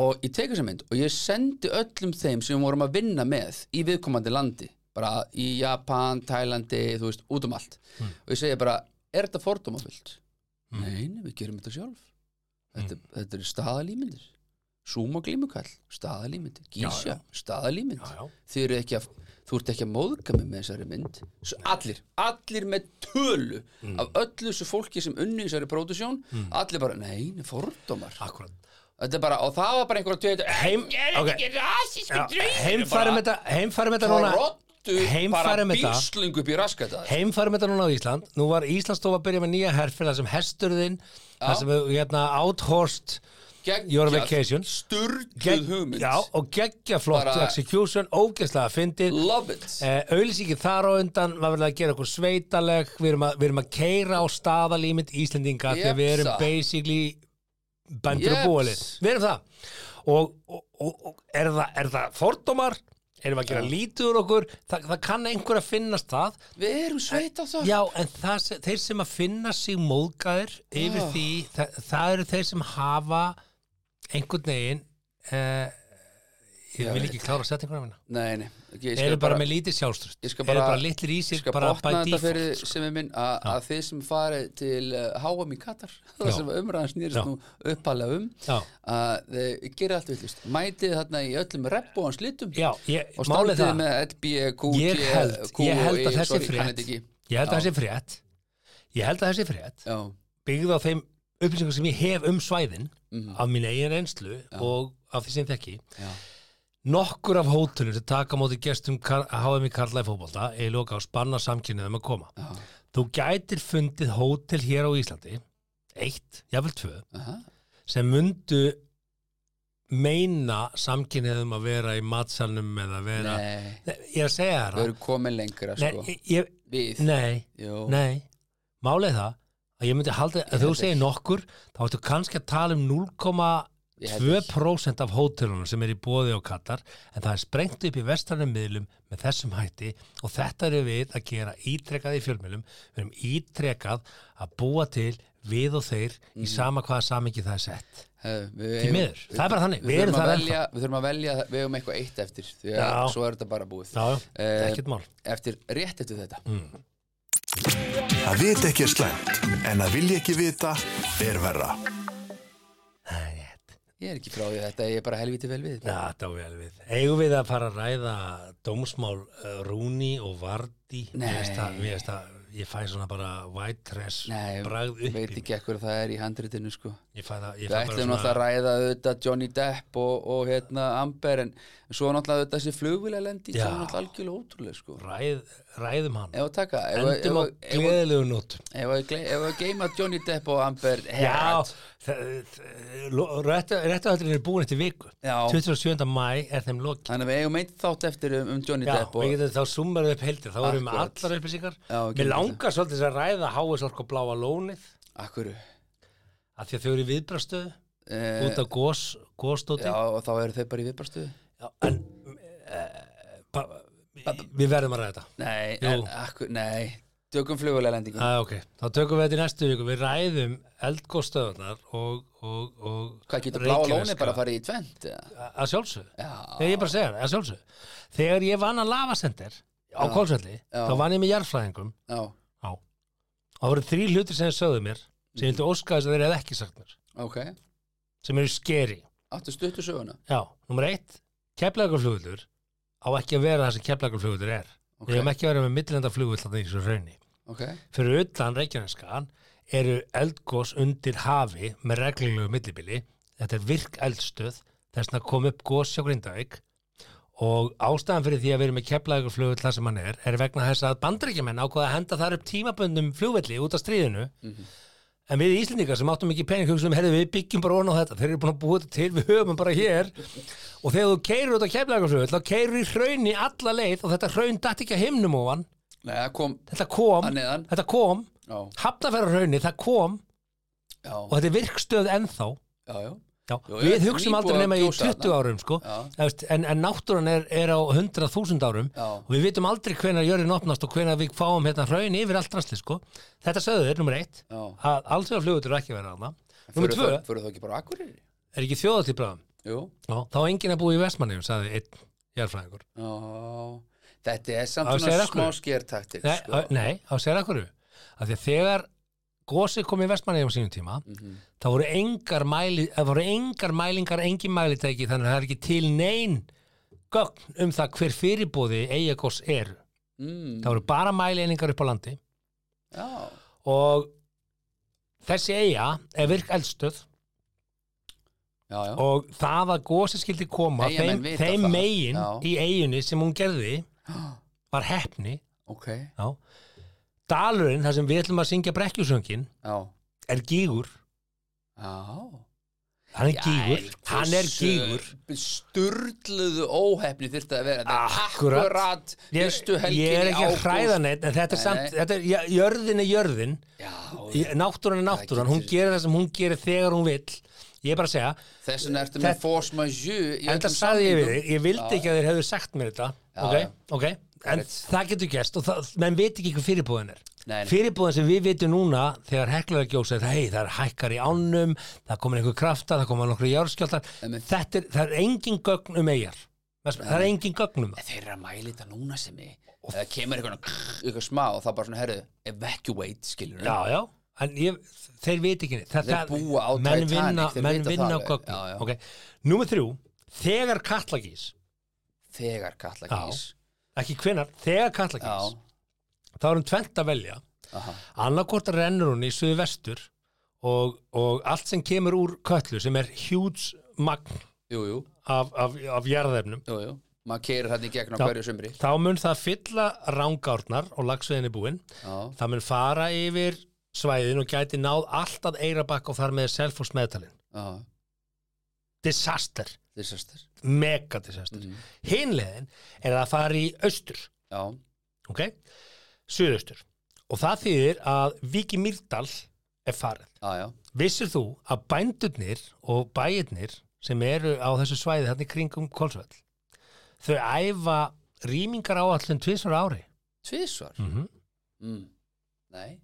og ég teki þessa mynd og ég sendi öllum þeim sem við vorum að vinna með í viðkomandi landi bara í Japan, Tælandi, þú veist, út um allt
Hmm.
og ég segi bara, er þetta fordómafullt? Nei, nei, við gerum þetta sjálf
Hmm.
þetta, þetta er staðalímyndir Zoom og glímukall, staðalímyndir
Já,
Gísja,
já.
staðalímynd
Já, já.
Þið eru ekki að, þú ert ekki að móðga mig með þessari mynd Svo allir, allir með tölu
Mm.
af öllu þessu fólki sem unni í þessari pródusjón allir bara, nei, nei, fordómar
Akkurat
Þetta er bara, og það var bara einhver að tveita
Ah. Heim-
er
ok.
ekki rasísku
Já,
draumur
Heimfærum þetta, heimfærum þetta núna
Rott settu bara
Heimfærum þetta.
bísling upp í raskata
Heimfærum þetta núna á Ísland Nú var Íslandsstofa að byrja með nýja herfið þar sem hesturðinn þar sem hérna áthorst Your Vacation.
Sturgluð hugmynd
já, og geggja flott
Bara-
execution, ógeðslega fyndið
Love it
Eh. Auðlýsingið þar á undan var verið að gera okkur sveitaleg við erum að, við erum að keira á staðalímit Íslendinga yep, þegar við erum
Jepsa.
basically bændur og
Jeps.
búalið við erum það og, og, og, og er, það, er það fordómar erum við að gera lítið úr okkur Þa, það kann einhver að finnast það
Við erum sveit á það
Já, en það, sem- þeir sem að finna sig móðgæðir yfir
Já.
því, það, það eru þeir sem hafa einhvern veginn uh, ég
Já,
vil
ég
ekki klára settinguna minna
Nei, nei ég- ég skal
eru bara, með lítið sjálfstrust
Ég
eru
skal
bara,
bara-
litlir í
Ég
sér
skal
bara by
botna þetta
default sko.
fyrir sem er minn að, að þið sem farið til uh, HM í Katar það
Já.
sem umræðan snýrist
Já.
nú uppalega um
Já.
að þið gerir allt villist mætið þarna í öllum repp og hans litum
Já, ég,
og
málið
standið
það
með LBQ
ég held, ég
E,
held að þessi frétt
ekki
ég held að
Já.
þessi frétt ég held að þessi frétt
Já,
byggð á þeim upplýsingum sem ég hef um svæðin af mín eigin reynslu og af því sem þekki
Mhm. já,
nokkur af hótelum sem taka á móti gestum Kar- HM í Karlaði fótbolta er loka á spanna samkynniðum að koma
já,
þú gætir fundið hótel hér á Íslandi eitt, jafnvel tvö
aha,
sem mundu meina samkynniðum að vera í matsalnum eða vera
nei
Nei, ég er að segja þér
við
það
erum komin lengra
Nei,
sko
ég, ég,
við,
nei,
jú,
nei Málið er það að ég myndi halda að þú
held
segir
ekki.
nokkur þá ættu kannski að tala um
Ég held ekki.
0,2% af hótelunum sem er í bóði á Katar en það er sprengt upp í vestanum miðlum með þessum hætti og þetta eru við að gera ítrekað í fjölmiðlum við erum ítrekað að búa til við og þeir
Mhm.
í sama hvaða samingi það er sett
hef, við,
Því
eigum-
miður, það er bara þannig,
við,
við erum
þurfum að
það
velja, við þurfum að velja við höfum eitthvað eitt eftir því að
Já.
svo er þetta bara búið
Já, já,
Eh,
ekkert mál
eftir, rétt eftir þetta
Að vita ekki er slæmt, en að vilja ekki vita er verra.
Það er rétt
ég er ekki frá því að þetta, ég er bara helviti vel við
Já, þetta á vel við. Eigum við að fara að ræða dómsmál uh, Rúni og Vardi?
Nei.
Ég veist að, ég, veist að, ég fæ svona bara white trash
Nei,
bragð upp.
veit
í mig.
ekki ekkur það er í handritinu sko
Ég fæ það, ég fæ
Við
bara
ætlum náttúrulega að ræða auðvitað Johnny Depp og, og hérna Amber en svo náttúrulega auðvitað þessi flugvilega lendi
Já.
sem er náttúrulega algjörlega ótrúlega sko
ræð, ræðum hann.
Ef að taka, ef að- ef
Endum á
að- ef að-
gleðilegu nótt.
ef að gle- ef að geima Johnny Depp og Amber
Já,
Heard.
réttahöldurinn er búin eftir viku.
Já.
27. mæ er þeim lokið.
Þannig að við eigum eitt þátt eftir um, um Johnny
Já,
Depp
við
og,
getum þá summarum við upp heldur, þá erum við með
Akkurat.
allar upplýsingar.
Já,
Mér
gerum
langar svolítið að ræða HS Orko Bláa Lónið,
akkur
af því að þau eru í viðbrastöðu.
eh,
út af gós, gósdóti
Já, og þá eru þeir bara í viðbarstuðu
en uh, við verðum að ræða þetta
Nei,
Jú.
en, akkur, nei Tökum flugvilega lendingu
ah, ok, þá tökum við þetta í næstu viku við ræðum eldgóstöðunar og, og, og
Hvað getur bláa lóni
Reykjaneska.
bara að fara í tvent? eða?
að sjálfsögðu,
Já,
þegar sko. ég er bara að segja það, að sjálfsögðu þegar ég vann að lavasender á Kólsvelli,
Já.
þá vann ég með jarðfræðingum
já,
á, og það voru þrý hlutir sem þeir sögðu mér, sem ég vildi óska þess að þeir hefði ekki sagt mér,
ok
sem eru skeri
Áttu stuttu söguna
Já, nummer eitt, keflagurflugullur á ekki að vera það sem keflagurflugullur er.
Ok.
Við hefum ekki að vera með millendaflugull þannig eins og raunni.
Ok,
Fyrir utan Reykjaneskan eru eldgós undir hafi með reglulegu millibili. Þetta er virk eldstöð, þess að kom upp gós hjá Grindavík og ástæðan fyrir því að við erum með keflagurflugull þar sem hann er, er vegna þess að bandaríkjumenn ákvaða að henda þar upp tímaböndum flugvelli út af stríðinu En við Íslendingar sem áttum ekki pening hugsaðum, herri við byggjum bara ofan á þetta, þeir eru búin að búa þetta til, við höfum hann bara hér og þegar þú keirur út á keflækarflöðu, þá keirur í hraunni alla leið og þetta hraun dætt ekki að himnum ofan,
nei, það kom
þetta kom,
Að neðan.
þetta kom,
Já,
hafnafæra hraunni, það kom
já,
og þetta er virkstöð ennþá.
já, já
Já,
Jú,
við
ég-
hugsaum aldrei
nýbúið
nema
að
í
gjósa
20
þarna.
árum sko,
Já.
Þú veist, en, en náttúran er, er á 100.000 árum
Já.
og við vitum aldrei hvenar jörðin opnast og hvenar við fáum hérna hraun yfir allt rastli sko. Þetta sögðu er nummer eitt,
Já.
að alls vegar flugutur ekki að vera hana. Nummer
Fyrir
tvö,
þau, fyrir þau ekki bara akkurýri?
er ekki þjóðatíbraðum?
Jú,
Já, þá er enginn að búa í Vestmanniðum, sagði einn jarðfræðingur.
já Þetta er
Á,
samt svona
segir
smá
akkur.
skjertaktik
Nei,
sko.
á- Nei, á sér akkur af því að þegar gósið kom í Vestmanniðum sínum tíma, þá voru engar, mæli, það voru engar mælingar, engin mælitæki, þannig að það er ekki til nein gögn um það hver fyrirbóði eiga gós er.
mm,
Það voru bara mæleiningar upp á landi
Já,
og þessi eiga er virk eldstöð
já, já
og það að gósið skildi koma
Eyjamenn
þeim,
vita
þeim
það.
megin
Já.
í eiginni sem hún gerði var hefni
ok, já,
já. Dalurinn, þar sem við ætlum að syngja brekkjusöngin, er gígur
já
Hann er
Jæ,
gígur, hann er
hversu
gígur
Sturluðu óhefni þyrfti að vera Þetta er
Akkurat.
akkurat
Ég,
Fyrstu helgin
ég er ekki
í
að
ágúst.
hræða neitt en þetta er
Nei,
samt,
nei.
þetta er, ja, jörðin er jörðin
Já,
Ég- náttúran er náttúran, hún
getur-
gerir það sem hún gerir þegar hún vill, ég er bara að segja
þess vegna ertu með
Þetta-
force majeure í
en
öllum
það sagði ég við
samningum.
þig, ég vildi ekki að þeir hefðu sagt mér þetta
Já,
ok,
já.
ok, en það getur gæst og það, menn veit ekki hvað fyrirbúðin er
Nei, nei.
fyrirbúðin sem við vitum núna þegar heklar gjósa, það, hey, það er hækkar í ánum það komin einhver krafta, það komin einhver járskjáltar,
Einmitt.
þetta er, það er engin gögn um eigar, það er engin gögn um það
Þeir eru að mæli þetta núna sem ég Það kemur eitthvað, eitthvað smá og það bara svona herðu Evacuate, skilur
já, já, en ég, þeir veit ekki neitt. það,
Þeir búa á
menn
Titanic,
vinna,
þeir
menn
vita
vinna á
það alveg.
gögn
Já, já.
ok, númer þrjú þegar katlagís,
Þegar kalla gís
ekki hvenar þegar katlagís,
Já,
þá erum tvent að velja
aha,
annarkort rennur hún í suðu vestur og, og allt sem kemur úr köllu sem er hjúts magn
jú, jú,
af, af, af jarðefnum
jú, jú Maður keirir hann í gegn á
Já.
hverju sumri
þá mun það fylla rángárnar og lagsveðinni búinn
Já,
það mun fara yfir svæðin og gæti náð allt að eirabakk og þar með selfos meðtalin
já,
disaster,
þessastir
mega disaster
Mhm.
mm. hinlegin er að það fari í austur
Já,
ok, suðaustur og það þýðir að Viki Mýrdal er farið
já, já,
Vissir þú að bændurnir og bæirnir sem eru á þessu svæði þannig kringum Kolsvöll þau æfa rýmingar áallin tvisvar á ári
tvisvar
Mhm.
mm. Nei,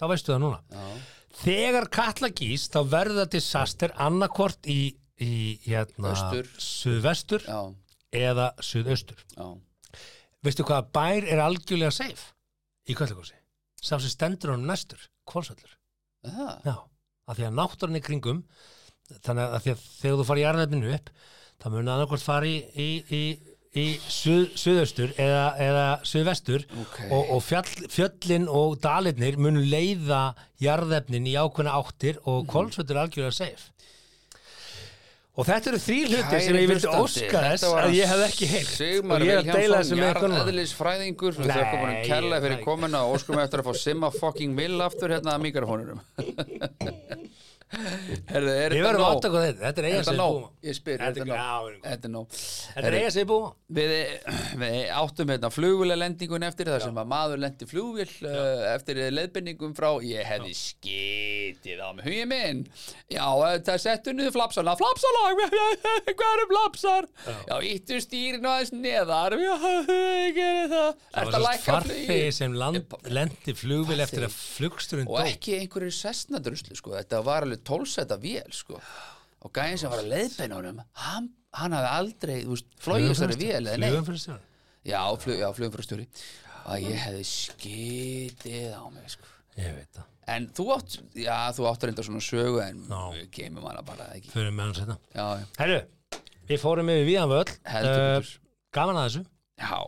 þá veistu það núna
já
þegar kalla gís þá verður það disaster annarkort í, í hérna,
Austur.
suðvestur
Já,
eða suðaustur
já,
veistu hvað bær er algjörlega safe í Köllugósi sá sem stendur honum næstur, Kolsvöllur
það
Já, af því að náttúran er kringum þannig að, því að þegar þú farið í jarðnefninu upp þá mun annarkvort fari í, í, í, í suð, suðaustur eða, eða suðvestur
Ok.
og, og fjall, fjöllin og dalirnir mun leiða jarðefnin í ákveðna áttir og
Mhm.
kolsvöldur er algjörlega safe og þetta eru þrý hlutir sem ég vildi óska þess að ég hef ekki heyrt
Sigmar
og ég er að deila þessu
Vilhjámsson,
með ykkur núna.
jarðeðlisfræðingur Við þökkum
Nei,
honum kærlega fyrir
nei.
komuna og óskum eftir að fá Simma fucking vill aftur hérna að mikrofónunum Herðu, er
Við
þetta
verðum að átta
nóg?
okkur þetta, þetta er
Er
eiga
þetta
sig
nóg?
búma
Ég spyr, er
Þetta
þetta
er- já,
nóg?
við erum
Er þetta nóg?
Þetta er
Herðu,
eiga sig búma
Við, við áttum hérna flugulega lendingun eftir þar sem að maður lendi flugvél uh, eftir leðbendingum frá ég hefði skitið á mig hugið minn já eh, það settu niður flapsana flapsalag, hvað eru flapsar já, íttu stýrin og aðeins neðar já, ég gerir það
Það
Ertu
var
að
svo
lækka
farþegi
flugið?
sem land, lendi flugvél eftir að flugsturinn
og
dó.
ekki einhverju sessnadruslu sko. þetta var alveg tólsetta vél sko. og gæðin sem var að leðbenna honum hann, hann hafði aldrei þú veist, flogið þessari vél eða neitt
Flugumfyrstjóðan.
Já, flug, já flugumfyrstjóri að ég hefði skitið á mig sko.
Ég veit það.
en þú átt já, þú átt reynda svona sögu en
Já.
við kemum hana bara ekki
Fyrir með hann setna.
já, já,
Herru, við fórum yfir viðan völl.
Heldur
Eh,
betur.
Gaman að þessu.
já.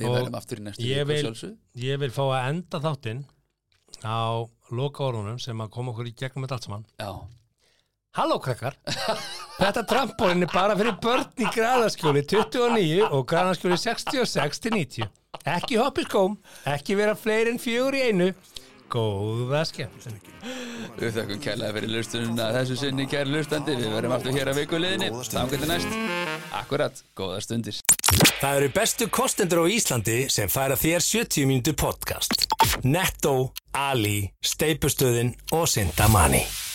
við
Og
verðum aftur í næstu
Ég
viku,
vil,
sjálfsögðu.
ég vil fá að enda þáttinn á lokaórunum sem að koma okkur í gegnum með allt saman.
já,
Halló krakkar, þetta trampolinn er bara fyrir börn í græðaskjóli 29 og græðaskjóli 66 til 90. Ekki hoppi skóm, ekki vera fleiri en fjögur í einu. Góða skemmtun.
við þakkum kærlega fyrir lustununa þessu sinni kæri lustandi, við verðum aftur hér að viku liðinni,
Góðar stundir.
þannig næst akkurat, góða stundir
Það eru bestu kostendur á Íslandi sem færa þér 70 mínútur podcast. Netto, Ali, Steipustöðin og Sintamani.